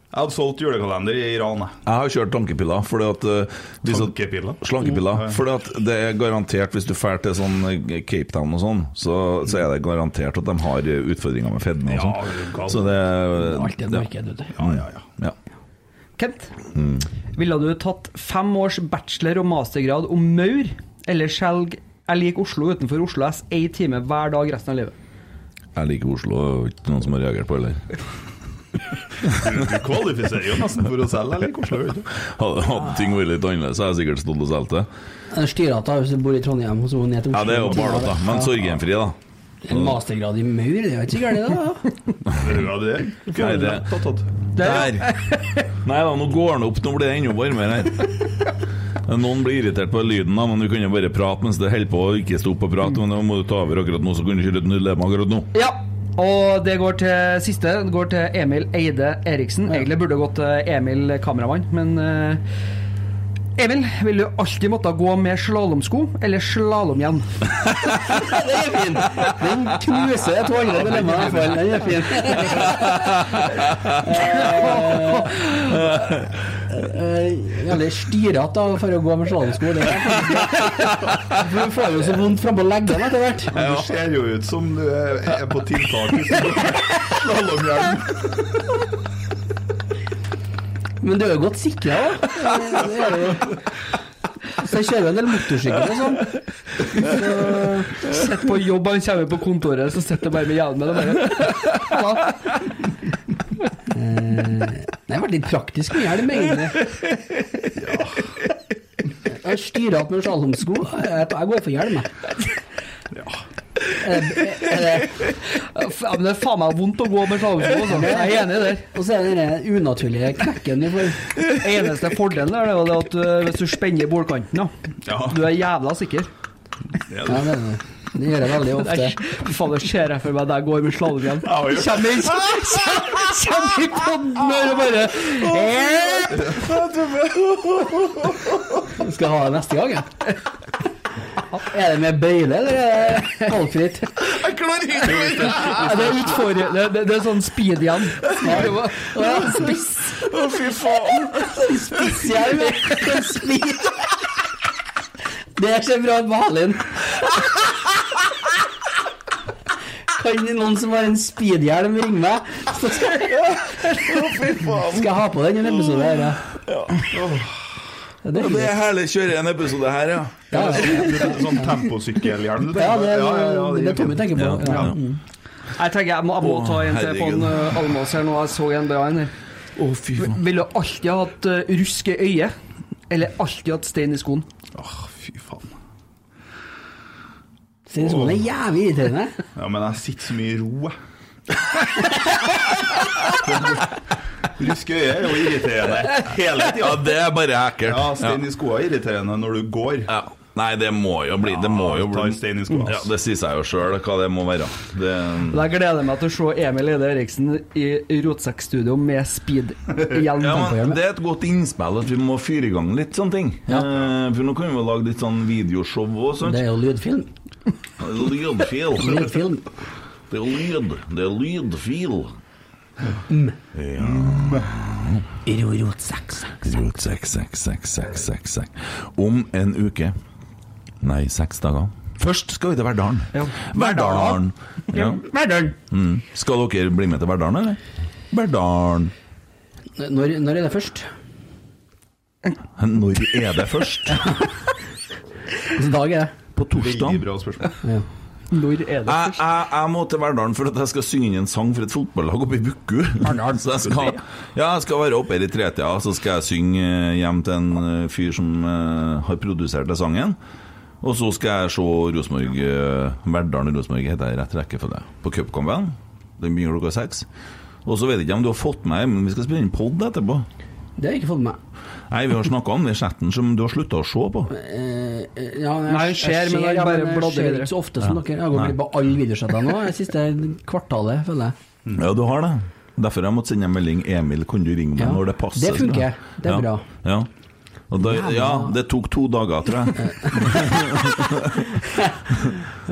Speaker 4: Jeg hadde solgt julekalender i Iran, jeg.
Speaker 2: Jeg har kjørt tankepiller. Fordi at eh, hvis at-
Speaker 4: Mm,
Speaker 2: Slankepiller. Fordi at det er garantert, hvis du drar til sånn eh, Cape Town og sånn, så, så er det garantert at de har eh, utfordringer med fedme og sånn. Så det
Speaker 5: Alt er et marked, vet du.
Speaker 2: Ja, ja, ja. ja.
Speaker 5: Kent,
Speaker 2: Mm.
Speaker 5: ville du tatt fem års bachelor- og mastergrad om maur, eller skjelg jeg liker Oslo utenfor Oslo S én time hver dag resten av livet?
Speaker 2: Jeg liker Oslo, og ikke noen som har reagert på heller.
Speaker 4: Du kvalifiserer jo nesten for å selge, eller hvordan gjør du
Speaker 2: Hadde, hadde ting vært litt annerledes, så hadde jeg sikkert stått og solgt det.
Speaker 3: Styrata hvis du bor i Trondheim, og så må du ned til Oslo.
Speaker 2: Ja, det er jo barnat, da. Men
Speaker 3: Ja.
Speaker 2: sorgenfri, da.
Speaker 3: En mastergrad i maur, det er jo ikke så gærent, da.
Speaker 4: det?
Speaker 2: Nei, det Der! Nei da, nå går den opp. Nå blir det enda varmere her. Noen blir irritert på lyden, da, men du kunne bare prate mens det holder på å ikke stå opp og prate. Men nå må du ta over akkurat nå, så kunne du kjøre et nullem akkurat nå.
Speaker 5: Ja. Og det går til siste. Det går til Emil Eide Eriksen. Egentlig burde det gått til Emil kameramann, men eh, Emil, vil du alltid måtte gå med slalåmsko eller slalåmhjelm?
Speaker 1: Den er fin! Den knuser et håndledd i lemma, i hvert fall. Den er fin.
Speaker 3: Eh, eh, Jævlig styrete da, for å gå med slalåmsko. det er- Du får jo så vondt frampå leggene etter hvert.
Speaker 4: Men du ser jo ut som du er er på tiltak. Slalåmhjelm.
Speaker 3: Men du er jo godt sikra, da. Det er jo- Så jeg kjører en del motorsykkel og sånn.
Speaker 5: Sett på jobb, han kommer på kontoret, så sitter jeg bare med hjelmen og bare
Speaker 3: Eh, Det har vært litt praktisk med hjelm, egentlig. Jeg styrer opp med slalåmsko. Jeg jeg går for hjelm, jeg. Eh,
Speaker 5: Ja, men det er faen meg vondt å gå med slalåmsko. altså. Jeg er enig der.
Speaker 3: Og så er det den unaturlige knekken du får.
Speaker 5: Eneste fordelen er det jo det at eh, hvis du spenner bordkanten, da, du er jævla sikker.
Speaker 3: Ja, det, er det. det gjør jeg veldig ofte.
Speaker 5: Fy faen, det ser jeg for meg deg går med slalåmhjelm. Kjem inn, kjem i podden her og bare
Speaker 3: Skal jeg ha det neste gang, jeg. Er det med bøyle, eller er det halvfritt?
Speaker 1: Jeg klarer
Speaker 5: ikke Det er utfor... Det, det, det er sånn speed-hjelm.
Speaker 1: Spiss. Å, fy faen.
Speaker 3: Spisshjelm. Spiss. Det ser bra ut på Halin. Kan noen som har en speedhjelm, ringe meg? Så skal jeg, skal jeg ha på den i en episode. Her, ja. Ja,
Speaker 2: Og det er herlig å kjøre en episode her, ja.
Speaker 3: Ja, ja.
Speaker 4: Sånn- Sånn temposykkelhjelm. du
Speaker 3: Ja,
Speaker 4: tenker på.
Speaker 3: det er-
Speaker 4: er
Speaker 3: det er Tommy
Speaker 4: fint.
Speaker 3: tenker på. Ja. mm.
Speaker 4: Ja.
Speaker 5: Jeg tenker jeg må, jeg må ta en til på en eh, Almås her nå. Jeg så en bra en her.
Speaker 2: Oh, fy faen.
Speaker 5: Ville alltid ha hatt eh, rusk i øyet, eller alltid hatt stein i skoen?
Speaker 3: Stein i skoen er jævlig irriterende.
Speaker 4: Ja, men jeg sitter så mye i ro, jeg. Rusk i øyet er jo irriterende hele tida.
Speaker 2: Ja, det er bare ekkelt.
Speaker 4: Ja, stein i skoa er irriterende når du går.
Speaker 2: Ja. Nei, det må jo bli Det må jo bli
Speaker 4: stein i skoa.
Speaker 2: Ja, det sier seg jo sjøl hva det må være. Det
Speaker 5: Men Jeg gleder meg til å se Emil Eide Eriksen i Rotsekk-studio med speed-hjelm.
Speaker 2: Ja, men det er et godt innspill at vi må fyre i gang litt sånne ting. Eh, for nå kan vi jo lage litt sånn videoshow òg, sant?
Speaker 3: Det er jo lydfilm.
Speaker 2: Lydfil.
Speaker 3: Lydfilm.
Speaker 2: Det er lyd. Det er lydfil.
Speaker 3: Mm.
Speaker 2: Ja. Rot 666666. Om en uke Nei, seks dager. Først skal vi til Verdalen. Verdalen. Ja.
Speaker 5: Verdalen.
Speaker 2: Mm. Skal dere bli med til Verdalen, eller? Verdalen.
Speaker 3: Når, når er det først?
Speaker 2: Når er det først?
Speaker 3: Hvilken Altså, dag er det?
Speaker 2: På torsdag.
Speaker 4: Veldig bra spørsmål.
Speaker 5: Når er det
Speaker 3: Ah,
Speaker 2: Jeg, jeg, jeg må til Verdalen for at jeg skal synge inn en sang for et fotballag oppe i Bukku. Så jeg skal, ja, jeg skal være oppe her i tretida, så skal jeg synge eh, hjem til en eh, fyr som eh, har produsert den sangen. Og så skal jeg se Rosenborg eh, Verdalen og Rosenborg heter jeg i rett rekkefølge på cupkampen. Den begynner klokka seks. Og så vet jeg ikke om du har fått med men vi skal spille inn pod etterpå.
Speaker 3: Det har jeg ikke fått med meg.
Speaker 2: Nei, vi har snakka om den chatten som du har slutta å se på.
Speaker 3: Eh, eh, ja,
Speaker 5: Nei, jeg ser, men jeg
Speaker 3: ja,
Speaker 5: bare
Speaker 3: jeg
Speaker 5: bladder
Speaker 3: ser
Speaker 5: videre.
Speaker 3: ikke så ofte som
Speaker 2: Ja.
Speaker 3: dere. Jeg har gått
Speaker 2: Nei.
Speaker 3: glipp av alle videosjettene nå det siste kvartalet, føler jeg.
Speaker 2: Mm. Ja, du har det. Derfor har jeg måttet sende en melding. Emil, kan du ringe meg
Speaker 3: Ja,
Speaker 2: når det passer?
Speaker 3: det funker.
Speaker 2: Så-
Speaker 3: Det er
Speaker 2: ja.
Speaker 3: bra.
Speaker 2: Ja. Og da,
Speaker 3: Jævla- Eh,
Speaker 2: ja, det tok to dager, tror jeg.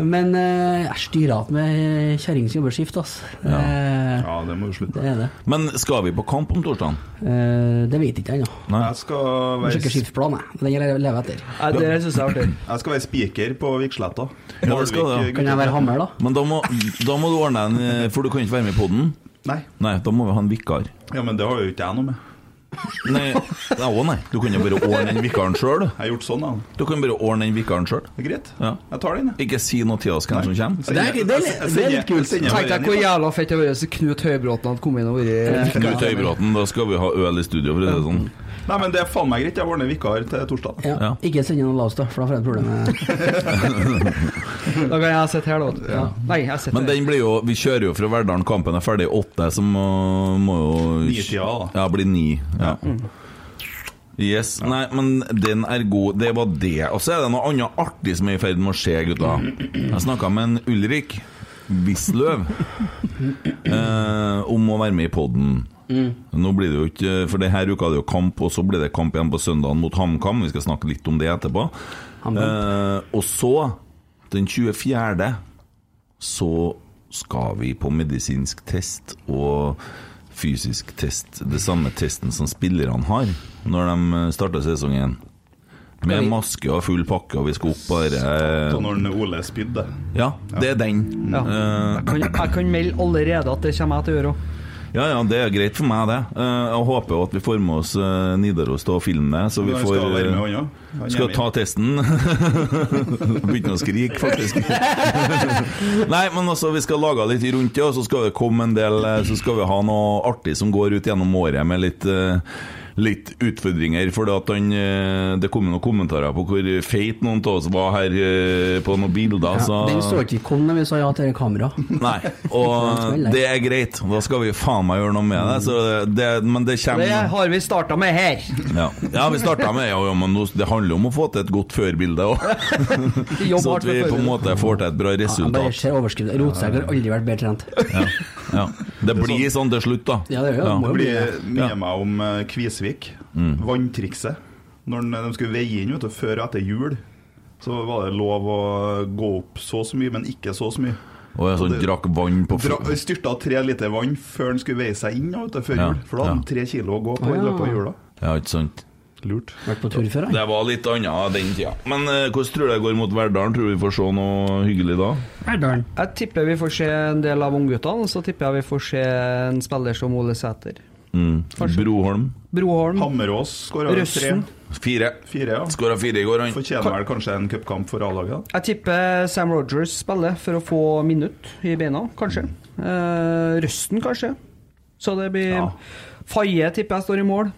Speaker 3: Men eh, jeg styrer alt med kjerring som jobber skift, ass.
Speaker 2: Ja.
Speaker 3: Eh,
Speaker 4: Ja, det må du slutte.
Speaker 3: det er det.
Speaker 2: Men skal vi på kamp om torsdagen?
Speaker 3: Eh, det vet jeg ikke ennå.
Speaker 2: Nei.
Speaker 4: Jeg skal
Speaker 3: Jeg
Speaker 4: være,
Speaker 3: Sjekker skiftplanen, jeg. Den jeg lever etter.
Speaker 5: Nei, det syns jeg er artig.
Speaker 4: jeg skal være spiker på Viksletta.
Speaker 2: Ja, det skal du, ja.
Speaker 4: Malvik-
Speaker 3: Kan jeg være hammer, da?
Speaker 2: Men da må, da må du ordne en eh, For du kan ikke være med i poden?
Speaker 4: Nei.
Speaker 2: Nei, da må vi ha en vikar.
Speaker 4: Ja, men det har jo ikke jeg noe med.
Speaker 2: Nei, det er også nei. Du kan jo bare ordne den vikaren sjøl.
Speaker 4: Jeg har gjort sånn, da.
Speaker 2: Du kan bare ordne den vikaren sjøl.
Speaker 4: Det er greit.
Speaker 2: Ja.
Speaker 4: Jeg tar den, jeg.
Speaker 2: Ikke si noe til oss hvem som kommer.
Speaker 3: Det er, det er, det er litt kult.
Speaker 5: Tenk deg hvor jævla fett det hadde vært hvis Knut Høybråten hadde kommet inn og vært
Speaker 2: Knut Høybråten, da skal vi ha øl i studio, for å si det sånn.
Speaker 4: Nei, men det er faen meg greit. Jeg ordner vikar til torsdag.
Speaker 3: Ja.
Speaker 2: Ja.
Speaker 3: Ikke send noen laus, da, for da får jeg et problem. med-
Speaker 5: Da kan jeg sitte her, da. Ja. Nei, jeg sitter
Speaker 2: Men den blir jo, vi kjører jo fra Verdalen, kampen er ferdig åtte, så må, må jo
Speaker 4: Nitida, da.
Speaker 2: Ja, blir ni. Ja. Yes, Nei, men den er god. Det var det. Og så er det noe annet artig som er i ferd med å skje, gutta. Jeg snakka med en Ulrik Wisløv eh, om å være med i poden. Nå blir det jo ikke For det her uka er det jo kamp, og så blir det kamp igjen på søndagen mot HamKam. Vi skal snakke litt om det etterpå. Eh, og så, den 24., så skal vi på medisinsk test og fysisk test. Det samme testen som spillerne har når de eh, starter sesongen. Med maske og full pakke, og vi skal opp
Speaker 4: Da når
Speaker 2: bare
Speaker 4: den Ole spydde.
Speaker 2: Ja, det er den.
Speaker 5: Ja.
Speaker 2: Eh,
Speaker 5: Jeg kan, jeg kan melde allerede at det kommer jeg til å gjøre òg.
Speaker 2: Ja, ja, det er greit for meg, det. Eh, Jeg håper jo at vi får med oss eh, Nidaros til å filme det. Så vi
Speaker 4: Ja, han
Speaker 2: får
Speaker 4: skal være med,
Speaker 2: eh,
Speaker 4: han, ja. Han er
Speaker 2: Skal
Speaker 4: med.
Speaker 2: ta testen. Begynte å skrike, faktisk. Nei, men altså, vi skal lage litt rundt det, og så skal det komme en del eh, Så skal vi ha noe artig som går ut gjennom året med litt eh, Litt utfordringer, for at han, eh, det kom noen kommentarer på hvor feit noen av oss var her eh, på noen bilder.
Speaker 3: Ja,
Speaker 2: så-
Speaker 3: den så ikke vi kom når vi sa ja til det kamera.
Speaker 2: Nei, og det er greit. Da skal vi faen meg gjøre noe med det. Så det men det
Speaker 5: Det
Speaker 2: kommer
Speaker 5: har vi starta med her.
Speaker 2: ja. ja, vi starta med ja, ja, men nå- det handler jo om å få til et godt før-bilde òg.
Speaker 3: Jobb
Speaker 2: Så
Speaker 3: hardt med
Speaker 2: at vi på en
Speaker 3: før-bildet.
Speaker 2: måte får til et bra
Speaker 3: Jeg bare
Speaker 2: resultat.
Speaker 3: ser overskriften. Rotsekk har aldri vært bedre trent.
Speaker 2: Ja. Det blir sånn til slutt, da.
Speaker 3: Ja, det gjør det.
Speaker 4: Det
Speaker 3: Må jo bli
Speaker 4: blir
Speaker 3: det.
Speaker 4: mye meg om eh, Kvisvik.
Speaker 2: Mm.
Speaker 4: Vanntrikset. Når eh, de skulle veie inn vet du, før og etter jul, så var det lov å gå opp så og så mye, men ikke så og så mye.
Speaker 2: Og jeg
Speaker 4: Og
Speaker 2: sånn
Speaker 4: det-
Speaker 2: drakk vann på
Speaker 4: Dra, styrta tre liter vann før han skulle veie seg inn vet du, før
Speaker 2: Ja,
Speaker 4: jul, for da hadde han tre kilo å gå på i løpet av jula.
Speaker 2: Ja, ikke sant?
Speaker 4: Lurt.
Speaker 3: Vært på tur før,
Speaker 2: Det var litt annet den tida. Men eh, hvordan tror du det går mot Verdalen? Tror du vi får se noe hyggelig da?
Speaker 5: Jeg tipper vi får se en del av ungguttene, og så tipper jeg vi får se en spiller som Ole Sæter.
Speaker 2: Mm.
Speaker 5: Kanskje.
Speaker 2: Broholm.
Speaker 5: Broholm.
Speaker 4: Hammerås skåra tre.
Speaker 5: Røsten.
Speaker 2: Fire.
Speaker 4: Fire, ja.
Speaker 2: Skåra fire i går, han.
Speaker 4: Fortjener vel kanskje en cupkamp for A-laget? da?
Speaker 5: Jeg tipper Sam Rogers spiller for å få minutt i beina, kanskje. Eh, røsten, kanskje. Så det blir Faye tipper jeg står i mål.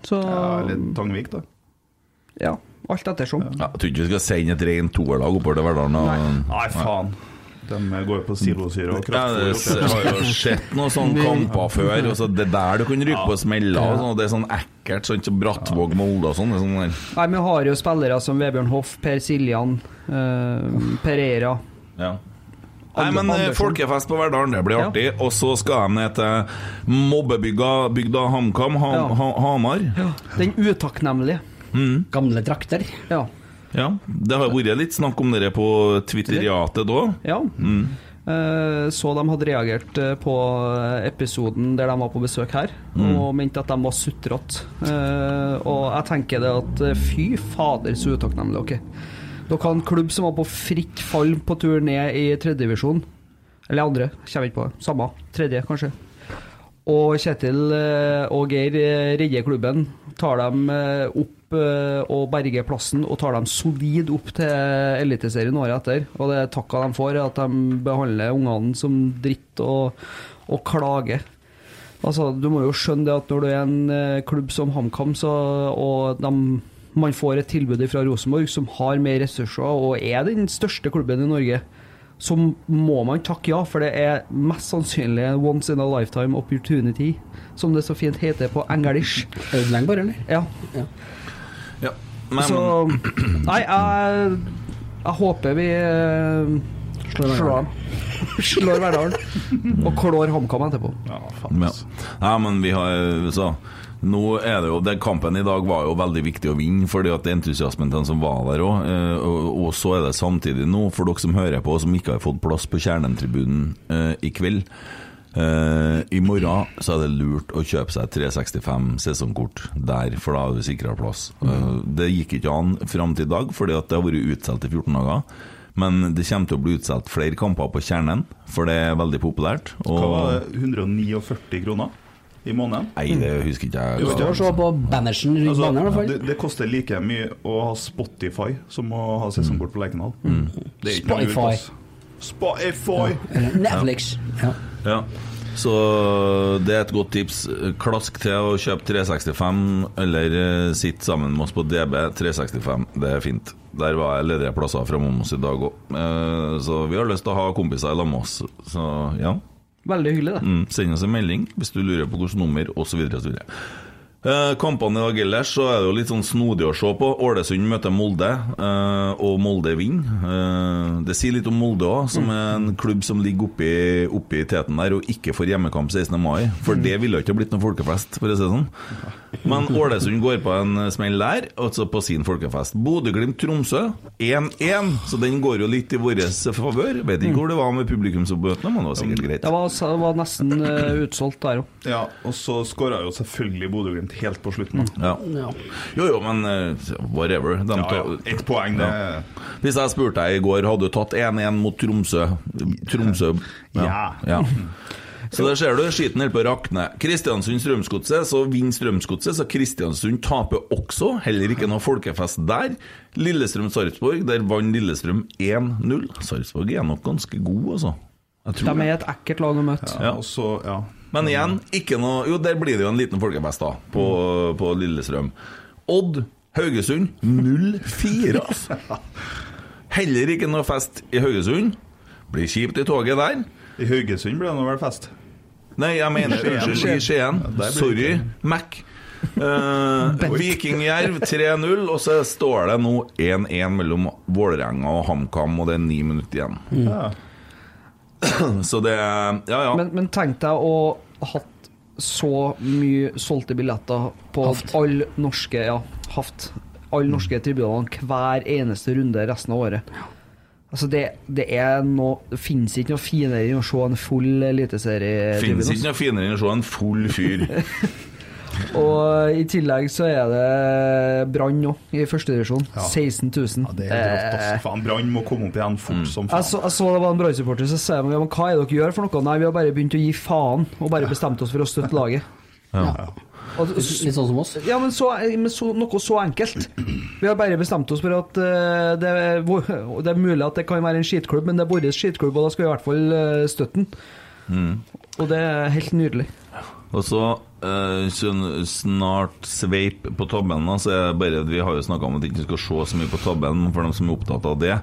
Speaker 5: Så
Speaker 4: Ja, Eller Tangvik, da.
Speaker 5: ja, alt ettersom.
Speaker 2: Ja, jeg tror ikke vi skal sende et rent toerlag oppover til Verdalen. og-
Speaker 4: Nei, faen. De går jo på silosyre og
Speaker 2: Ja,
Speaker 4: kraftfôr.
Speaker 2: det s- har jo sett noen sånne kamper før. Og så det er der du kan ryke på smeller. Og sånn, og det er sånn ekkelt, sånn som Brattvåg, Molde og sånn. Det er sånn der.
Speaker 5: Nei, Vi har jo spillere som Vebjørn Hoff, Per Siljan, eh, Pereira.
Speaker 2: Ja. Nei, men eh,
Speaker 5: Andersen.
Speaker 2: Folkefest på Verdalen, det blir
Speaker 5: sånn. Ja.
Speaker 2: artig. Og så skal de ned til mobbebygda bygda HamKam, ham,
Speaker 5: Ja.
Speaker 2: ha, Hamar.
Speaker 5: Den utakknemlige.
Speaker 3: Gamle drakter.
Speaker 5: Ja.
Speaker 2: Ja, Det har vært litt snakk om dere på Twitteriatet da.
Speaker 5: ja.
Speaker 2: Mm.
Speaker 5: Eh, Så de hadde reagert eh, på episoden der de var på besøk her,
Speaker 2: Mm.
Speaker 5: og mente at de var sutrete. Eh, Og jeg tenker det at eh, fy fader, så utakknemlige dere Dere har en klubb som var på fritt fall på tur ned i tredjedivisjon. Eller andre, kommer ikke på. det. Samme. Tredje, kanskje. Og Kjetil eh, og Geir eh, redder klubben. Tar dem eh, opp eh, og berger plassen, og tar dem solid opp til Eliteserien året etter. Og det takka de får, er at de behandler ungene som dritt og, og klager. Altså, Du må jo skjønne det at når du er en eh, klubb som HamKam, så, og de, man får et tilbud fra Rosenborg, som har mer ressurser og er den største klubben i Norge, så må man takke ja, for det er mest sannsynlig en once in a lifetime opportunity, som det så fint heter på engelsk.
Speaker 3: Ødelengbar, eller?
Speaker 5: Ja.
Speaker 2: Ja. Nei,
Speaker 5: så Nei, jeg, jeg håper vi eh,
Speaker 3: Slår
Speaker 5: slår dem. Slår Verdalen. Og klår HamKam etterpå.
Speaker 2: Ja.
Speaker 4: altså.
Speaker 2: Nei, men vi har så, Nå er det jo den Kampen i dag var jo veldig viktig å vinne, fordi at entusiasmen til den som var der òg. Og, og så er det samtidig nå, for dere som hører på, og som ikke har fått plass på Kjernen-tribunen eh, i kveld. eh, I morgen så er det lurt å kjøpe seg 365 sesongkort der, for da har du sikra plass.
Speaker 4: Mm.
Speaker 2: Eh, det gikk ikke an fram til i dag, fordi at det har vært utsolgt i 14 dager. Men det kommer til å bli utsolgt flere kamper på Kjernen, for det er veldig populært.
Speaker 4: Hva var det? 149 kroner i måneden?
Speaker 2: Nei, det husker ikke jeg.
Speaker 3: Du står og ser på Bannersen rundt
Speaker 4: Altså,
Speaker 3: banen, i hvert fall.
Speaker 4: det, det koster like mye å ha Spotify som å ha sesongkort på Lerkendal.
Speaker 2: Mm.
Speaker 4: Det er ikke noe lurt,
Speaker 3: Spotify.
Speaker 4: ass. Spotify!
Speaker 3: Eller Netflix. Ja.
Speaker 2: Ja. Så det er et godt tips. Klask til å kjøpe 365, eller eh, sitt sammen med oss på DB 365. Det er fint. Der var jeg ledige plasser fra Momos i dag òg. Så vi har lyst til å ha kompiser i lag med oss. Så ja.
Speaker 5: Veldig hyggelig, det.
Speaker 2: Mm, send oss en melding hvis du lurer på hvilket nummer, osv. Eh, Kampene i dag ellers så er det jo litt sånn snodig å se på. Ålesund møter Molde, eh, og Molde vinner. Eh, Det sier litt om Molde òg, som er en klubb som ligger oppi, oppi teten der og ikke får hjemmekamp 16. mai. For det ville jo ikke blitt noen folkefest, for å si det sånn. Men Ålesund går på en smell der, altså på sin folkefest. Bodø-Glimt-Tromsø 1-1, så den går jo litt i vår favør. Vet ikke hvor det var med publikumsoppmøtene, men det var sikkert greit.
Speaker 5: Det var, altså, det var nesten eh, utsolgt der òg.
Speaker 4: Ja, og så skåra jo selvfølgelig Bodø-Glimt helt på slutten.
Speaker 2: Ja. Jo, jo, men eh, whatever. De
Speaker 4: Ja, ja.
Speaker 2: tar-
Speaker 4: Ett poeng, det-
Speaker 2: Ja. Hvis jeg spurte deg i går, hadde du tatt 1-1 mot Tromsø? Tromsø
Speaker 4: Ja.
Speaker 2: ja. Så der ser du, skiten holder på å rakne. Kristiansund-Strømsgodset, så vinner Strømsgodset, så Kristiansund taper også. Heller ikke noe folkefest der. Lillestrøm-Sarpsborg, der vant Lillestrøm 1-0. Sarpsborg er nok ganske god, altså. Jeg tror
Speaker 5: De
Speaker 2: det.
Speaker 5: er et ekkelt lag å møte.
Speaker 2: Ja. Men igjen, ikke noe Jo, der blir det jo en liten folkefest, da, på, på Lillestrøm. Odd Haugesund 0-4, altså. Heller ikke noe fest i Haugesund. Blir kjipt i toget der.
Speaker 4: I Haugesund ble det nå vel fest?
Speaker 2: Nei, jeg mener
Speaker 4: Skien.
Speaker 2: unnskyld, i Skien.
Speaker 4: Ja, der blir det
Speaker 2: Sorry,
Speaker 4: ikke.
Speaker 2: Mac. Eh, Vikingjerv 3-0, og så står det nå 1-1 mellom Vålerenga og HamKam, og det er ni minutter igjen.
Speaker 4: Mm.
Speaker 5: Ja.
Speaker 2: Så det Ja, ja.
Speaker 5: Men, men tenk deg å ha hatt så mye solgte billetter på alle norske Ja, haft.
Speaker 4: Mm.
Speaker 5: Alle norske tribunene hver eneste runde resten av året. Altså det, det er noe Det finnes ikke noe finere enn å se en full eliteserietribune.
Speaker 2: Finnes ikke noe finere enn å se en full fyr.
Speaker 5: Og i tillegg så er det Brann òg, i førstedivisjon.
Speaker 4: Ja.
Speaker 5: 16 000.
Speaker 4: Det er helt rått, ass. Eh. Faen, Brann må komme opp igjen fort som
Speaker 5: Jeg så, jeg så det var en Brann-supporter som sa jeg, men hva er det dere gjør for noe? Nei, vi har bare begynt å gi faen, og bare bestemt oss for å støtte laget. Og,
Speaker 3: Litt sånn som oss?
Speaker 5: Ja, men, så, men så, noe så enkelt. Vi har bare bestemt oss for at eh, det, er, vår- og det er mulig at det kan være en skitklubb, men det er vår skitklubb, og da skal vi i hvert fall eh, støtte den.
Speaker 2: Mm.
Speaker 5: Og det er helt nydelig.
Speaker 2: Og så eh, sånn snart sveip på tabben. da, så er det bare, vi har jo snakka om at vi ikke skal se så mye på tabben, men for dem som er opptatt av det.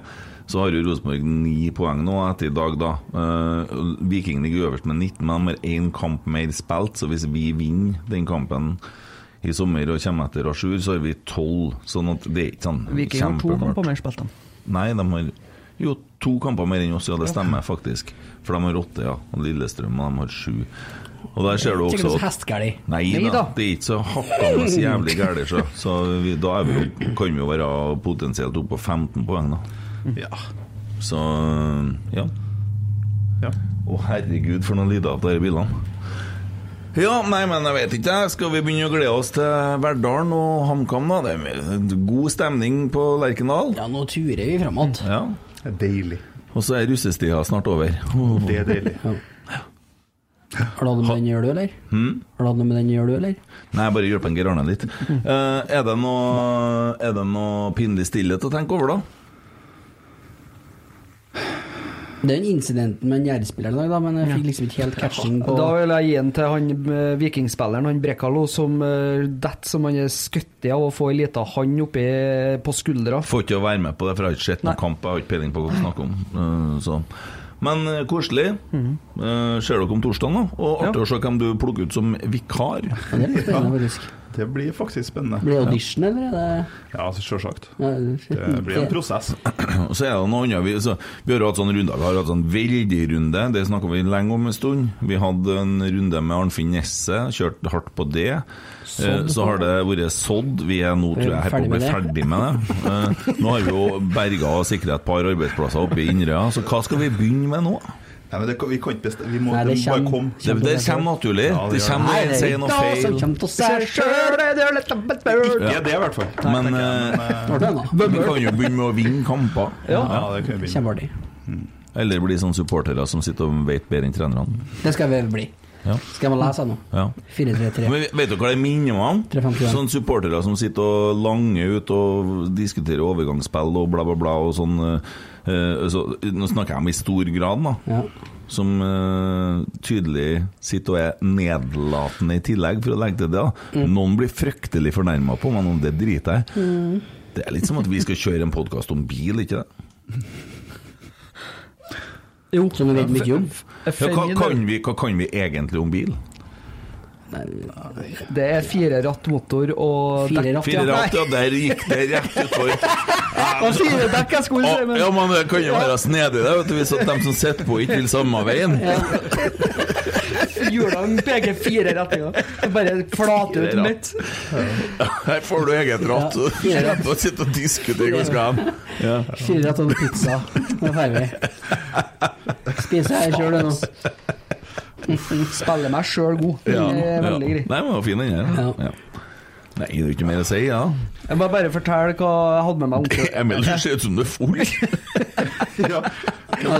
Speaker 2: Så har jo Rosenborg ni poeng nå etter i dag, da. Eh, Viking ligger øverst med 19, men de har én kamp mer spilt. Så hvis vi vinner den kampen i sommer og kommer etter Asjur, så har vi tolv. Sånn at det er ikke sånn
Speaker 5: Viking har to
Speaker 2: kjempemørkt.
Speaker 5: kamper mer spilt enn
Speaker 2: Nei, de har jo to kamper mer enn oss, ja, det stemmer faktisk. For de har åtte, ja. Og Lillestrøm og de har sju. Og der ser du
Speaker 3: Ikke
Speaker 2: også
Speaker 3: noe hestgærlig.
Speaker 2: Nei
Speaker 3: Nei da.
Speaker 2: da, det er ikke så hakkende jævlig gærent, så, så vi, da er vi, jo- kan vi jo være potensielt oppe på 15 poeng, da.
Speaker 4: Ja.
Speaker 2: Så ja.
Speaker 4: Ja.
Speaker 2: Å herregud, for noen lyder av disse bilene. Ja, nei, men jeg vet ikke. jeg. Skal vi begynne å glede oss til Verdalen og HamKam, da? Det er god stemning på Lerkendal. Ja, nå turer vi fremad. Ja.
Speaker 4: Det er deilig.
Speaker 2: Og så er russestida snart over.
Speaker 4: Det er deilig.
Speaker 3: Har du hatt noe med den å gjøre, du, eller?
Speaker 2: Hmm?
Speaker 3: Har du hatt noe med den å gjøre, du, eller?
Speaker 2: Nei, jeg bare hjelper en Geir Arne litt. Eh, er, det noe, er det noe pinlig stillhet å tenke over, da?
Speaker 3: Den incidenten med en gjerdespiller i dag, da, men jeg fikk liksom ikke helt catching på
Speaker 5: Mm. Da vil jeg gi den til han eh, vikingspilleren, han Brekalo, som eh, detter som han er skutt i av å få ei lita hand oppi på skuldra.
Speaker 2: Får ikke å være med på det, for jeg har ikke sett noen kamp. Jeg har ikke peiling på hva vi snakker om. Eh, så. Men eh, koselig.
Speaker 3: Mhm.
Speaker 2: Eh, ser dere om torsdagen, da? Og artig å se hvem du plukker ut som vikar.
Speaker 3: Det er litt spennende, faktisk.
Speaker 4: Det blir faktisk spennende.
Speaker 3: Blir det audition, eller er det
Speaker 4: Ja, sjølsagt.
Speaker 3: Ja, det er-
Speaker 4: Det blir en prosess.
Speaker 2: Og så er det noe annet Vi, så, vi har jo hatt sånne runder. Vi har hatt sånn veldig runde. Det snakka vi lenge om en stund. Vi hadde en runde med Arnfinn Nesse, kjørte hardt på det. Eh,
Speaker 9: Sådd.
Speaker 2: Så har det vært sådd. Vi er nå,
Speaker 9: Er
Speaker 2: tror jeg, helt på å
Speaker 9: ferdig
Speaker 2: bli
Speaker 9: med
Speaker 2: ferdig med det. Eh, Nå har vi jo berga og sikra et par arbeidsplasser oppe i Inderøya, så hva skal vi begynne med nå?
Speaker 4: Nei, men det, kan- vi kan ikke bestemme Vi må,
Speaker 2: Nei,
Speaker 4: det,
Speaker 2: det
Speaker 4: må bare
Speaker 2: kommer-
Speaker 4: komme.
Speaker 2: Det- det kommer naturlig.
Speaker 4: Ja,
Speaker 2: Det
Speaker 4: gjør
Speaker 2: kommer når en sier noe
Speaker 4: Nei,
Speaker 2: feil.
Speaker 4: Ikke det, i hvert fall.
Speaker 2: Men eh, vi kan jo begynne med å vinne kamper.
Speaker 3: Ja. Ja, det kan vi begynne. Kjempeartig.
Speaker 2: Eller bli sånne supportere som sitter og vet bedre enn trenerne.
Speaker 3: Det skal vi bli.
Speaker 2: Ja.
Speaker 3: Skal jeg lese nå?
Speaker 2: Ja.
Speaker 3: 433.
Speaker 2: Men Vet dere hva det minner meg om?
Speaker 3: 351.
Speaker 2: Sånne supportere som sitter og langer ut og diskuterer overgangsspill og bla, bla, bla. Og sånn, eh, eh, så, nå snakker jeg om i stor grad, da. Som eh, tydelig sitter og er nedlatende i tillegg, for å legge til det. da Noen blir fryktelig fornærma på meg, noen det driter jeg i.
Speaker 10: Mm.
Speaker 2: Det er litt som at vi skal kjøre en podkast om bil, ikke det?
Speaker 5: Jo.
Speaker 3: Som vi vet mye om.
Speaker 2: Ja, hva, kan vi, hva kan vi egentlig om bil?
Speaker 5: Det er fire ratt motor og
Speaker 2: Fire ratt, ja. Fire ratt, ja, der gikk det rett utfor. Hva
Speaker 5: sier du, Bekk? Jeg skulle si
Speaker 2: Ja, men det kan jo være snedig det, vet du, hvis at de som sitter på, ikke vil samme veien.
Speaker 5: Hjulene peker fire retninger. Det Bare flater ut
Speaker 2: Fire
Speaker 5: midt.
Speaker 2: Her får du eget ratt,
Speaker 5: Ja,
Speaker 2: og
Speaker 5: fire ratt.
Speaker 2: slipper å sitte og diskutere hvor skal hen.
Speaker 3: Fire rett og en pizza. Nå er vi ferdig. Spiser jeg sjøl nå.
Speaker 5: Spiller meg sjøl god. Det
Speaker 2: Ja,
Speaker 5: er
Speaker 2: ja.
Speaker 5: veldig
Speaker 2: Nei,
Speaker 5: greit.
Speaker 2: men det var fin den her. Ja. Nei, det er jo ikke mer å si, ja.
Speaker 5: Jeg må bare fortelle hva jeg hadde med meg. onkel.
Speaker 2: Emil, du ser ut som du er full.
Speaker 5: Ja,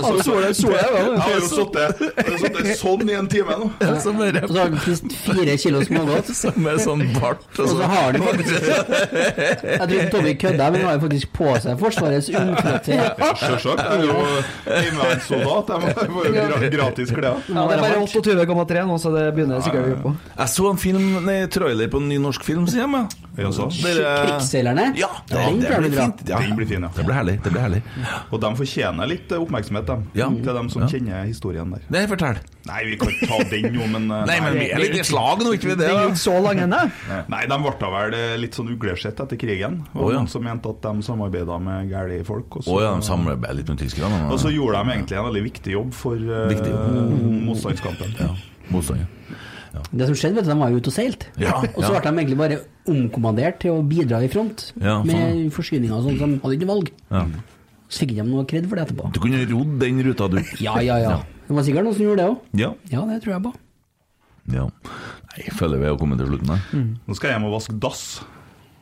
Speaker 5: så- sola- sola er jo-
Speaker 4: Jeg har jo sittet jeg har sittet sånn i en time nå.
Speaker 2: Ja, som bare-
Speaker 3: Og så har du spist fire kilo smågodt.
Speaker 2: Som er sånn bart.
Speaker 3: Og så har du faktisk Jeg tror ikke Tommy kødder, men han har jo faktisk på seg Forsvarets ullkløtte.
Speaker 4: Selvsagt. Jeg er jo heimevernssoldat. Jeg må- jeg får jo gra- gratis klær.
Speaker 5: Ja, det er bare 28,3 nå, så det begynner jeg sikkert å gjøre på.
Speaker 2: Jeg så en film, nei, trailer på en ny norsk film, sier jeg meg.
Speaker 3: Krigsseilerne?
Speaker 2: Ja,
Speaker 4: Ja,
Speaker 2: Mm. det
Speaker 4: den
Speaker 2: blir
Speaker 4: blir
Speaker 2: fint.
Speaker 4: fin. Den blir fin, ja.
Speaker 2: Det blir herlig. det blir herlig
Speaker 4: Og de fortjener litt eh, oppmerksomhet, dem. Mm. Til dem som kjenner historien der.
Speaker 2: Nei, fortell.
Speaker 4: Nei, vi kan ikke ta den jo, men eh,
Speaker 2: Nei, men vi er litt i slag nå, ikke vi det?
Speaker 5: Den er jo ikke så lang ennå.
Speaker 4: Nei, de ble da vel eh, litt sånn uglesett etter krigen. Og
Speaker 2: Å, ja.
Speaker 4: noen som mente at de samarbeidet med gærne folk. og
Speaker 2: Å
Speaker 4: så-
Speaker 2: ja, de samarbeider litt med tyskerne. men-
Speaker 4: Og så gjorde de egentlig en veldig viktig jobb for eh,
Speaker 2: Viktig jobb. Mm.
Speaker 4: motstandskampen.
Speaker 2: Motstander.
Speaker 3: Det som skjedde, vet du, de var jo ute og seilte.
Speaker 2: Ja,
Speaker 3: og så
Speaker 2: ja.
Speaker 3: ble de egentlig bare omkommandert til å bidra i front
Speaker 2: Ja,
Speaker 3: med
Speaker 2: sånn.
Speaker 3: forsyninger og sånn, så de hadde ikke noe valg.
Speaker 2: Ja.
Speaker 3: Så fikk de noe kred for det etterpå.
Speaker 2: Du kunne rodd den ruta, du.
Speaker 3: Ja, ja, ja. Det var sikkert noen som gjorde det òg.
Speaker 2: Ja.
Speaker 3: Ja, det tror jeg på.
Speaker 2: ja. Nei, jeg føler vi har kommet til slutten her.
Speaker 4: Nå skal jeg hjem og vaske dass.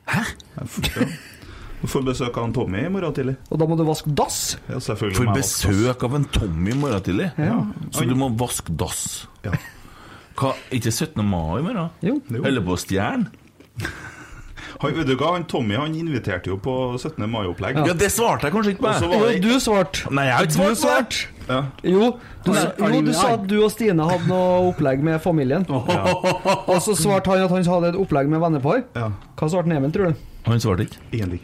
Speaker 4: Hæ? Du får besøk av en Tommy i morgen tidlig.
Speaker 5: Og da må du vaske dass?
Speaker 4: Ja, selvfølgelig.
Speaker 2: For
Speaker 4: må jeg vaske dass.
Speaker 2: besøk av en Tommy i morgen tidlig?
Speaker 4: Ja.
Speaker 2: Så du må vaske dass?
Speaker 4: Ja.
Speaker 2: Hva, ikke 17. mai i morgen?
Speaker 5: Jo.
Speaker 2: Holder på å stjerne?
Speaker 4: Han, vet du hva, han Tommy han inviterte jo på 17. mai-opplegg.
Speaker 2: Ja, det svarte jeg kanskje ikke på.
Speaker 4: Og så
Speaker 2: jeg.
Speaker 4: var
Speaker 5: Jo,
Speaker 4: det-
Speaker 5: du svarte.
Speaker 2: Nei, jeg har ikke
Speaker 5: Du
Speaker 2: svart på det.
Speaker 5: svarte.
Speaker 4: Ja.
Speaker 5: Jo, du,
Speaker 4: Har-
Speaker 5: sa-
Speaker 4: har
Speaker 5: jo,
Speaker 4: de-
Speaker 5: du sa at du og Stine hadde noe opplegg med familien. Og så svarte han at han hadde et opplegg med vennepar.
Speaker 4: Ja.
Speaker 5: Hva svarte Neven, tror du?
Speaker 2: Han svarte ikke.
Speaker 4: Egentlig.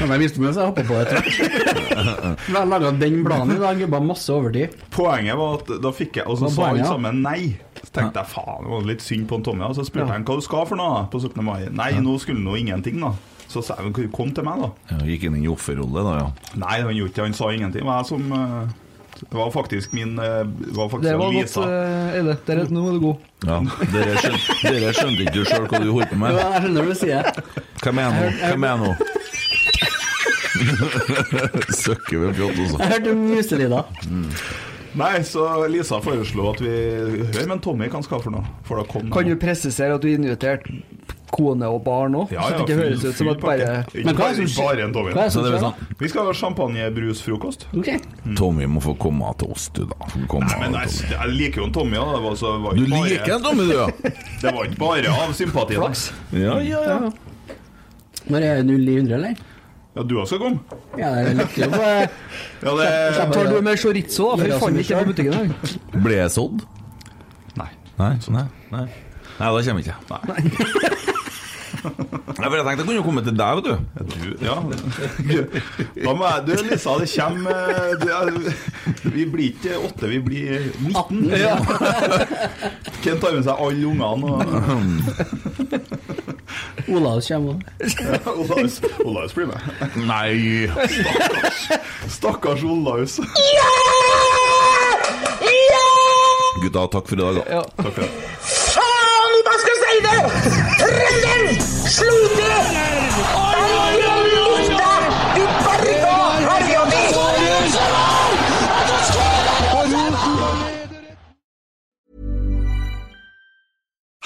Speaker 3: Men jeg visste med så jeg hoppa på det. tror jeg. Jeg laga den planen i dag, jobba masse overtid.
Speaker 4: Poenget var at da fikk jeg Og så
Speaker 3: Hva er
Speaker 4: sa han
Speaker 3: poenget, da?
Speaker 4: sammen nei. Så tenkte jeg faen, det var litt synd på en Tommy. Og så spurte jeg han hva du skal for noe på 17. mai. Nei, nå skulle han jo ingenting, da. Så sa jeg men kom til meg, da.
Speaker 2: Ja, gikk inn i offerrolle, da, ja.
Speaker 4: Nei, han gjorde ikke det. Han sa ingenting. Men jeg som eh, Det var faktisk min eh, Det var faktisk
Speaker 5: Det var godt,
Speaker 4: Lisa.
Speaker 5: eh, Eide. Der, nå er du god.
Speaker 2: ja. Dere, skjønte, dere skjønte ikke sjøl hva du holdt på
Speaker 3: Jo,
Speaker 2: med?
Speaker 3: Jeg skjønner hva du sier.
Speaker 2: Hvem er jeg nå? Hvem er jeg nå? Søkker ved pjott, også.
Speaker 3: Jeg hørte muselyder.
Speaker 4: Nei, så Lisa foreslo at vi Hør med en Tommy hva han skal for noe. For da kom
Speaker 5: Kan du presisere at du inviterte kone og barn òg?
Speaker 4: Ja,
Speaker 5: så
Speaker 4: ja,
Speaker 5: det ikke
Speaker 4: full-
Speaker 5: høres ut som
Speaker 4: full
Speaker 5: at bare
Speaker 4: pakke.
Speaker 3: Men
Speaker 4: Ikke
Speaker 3: hva er
Speaker 4: bare,
Speaker 3: det som-
Speaker 4: bare en Tommy.
Speaker 3: Hva er det
Speaker 2: Så
Speaker 3: som
Speaker 2: det er
Speaker 3: skjer?
Speaker 2: vel
Speaker 3: da?
Speaker 2: sånn
Speaker 4: Vi skal ha champagnebrusfrokost.
Speaker 3: Ok.
Speaker 2: Tommy må få komme til oss, du, da. Få Komme
Speaker 4: Men jeg,
Speaker 2: til oss.
Speaker 4: jeg liker jo en Tommy, da. Det var, så, det var
Speaker 2: Du
Speaker 4: ikke
Speaker 2: liker
Speaker 4: bare,
Speaker 2: en Tommy, du, ja?
Speaker 4: det var ikke bare av sympati. da.
Speaker 5: Flaks.
Speaker 2: Ja, ja, ja.
Speaker 3: Når er det 0 i 100, eller?
Speaker 4: Ja, du også kom.
Speaker 3: Ja, det er lykkelig å få
Speaker 4: Ja, det
Speaker 5: Tar du med chorizo,
Speaker 3: Gjør
Speaker 5: da? For vi
Speaker 3: det som
Speaker 5: fant
Speaker 3: vi
Speaker 5: ikke det
Speaker 3: selv.
Speaker 5: på butikken i dag.
Speaker 2: Ble jeg sådd?
Speaker 4: Nei.
Speaker 2: Nei, nei, nei. Nei, da kommer jeg ikke. Nei. Nei, for jeg tenkte jeg kunne jo komme til deg, vet du.
Speaker 4: Du, ja. Hva må jeg Du, Lisa, det kommer eh, det er- Vi blir ikke åtte, vi blir 19. Ja. Kent tar med seg alle ungene. og-
Speaker 3: Olaus kommer òg.
Speaker 4: Olaus Olaus blir med.
Speaker 2: Nei.
Speaker 4: Stakkars Olaus.
Speaker 2: Gutta, takk for i dag. da.
Speaker 4: Takk for det.
Speaker 10: Faen, hva skal jeg si det? Trønder! Slo til! Lukta! Du barba! Herja mi!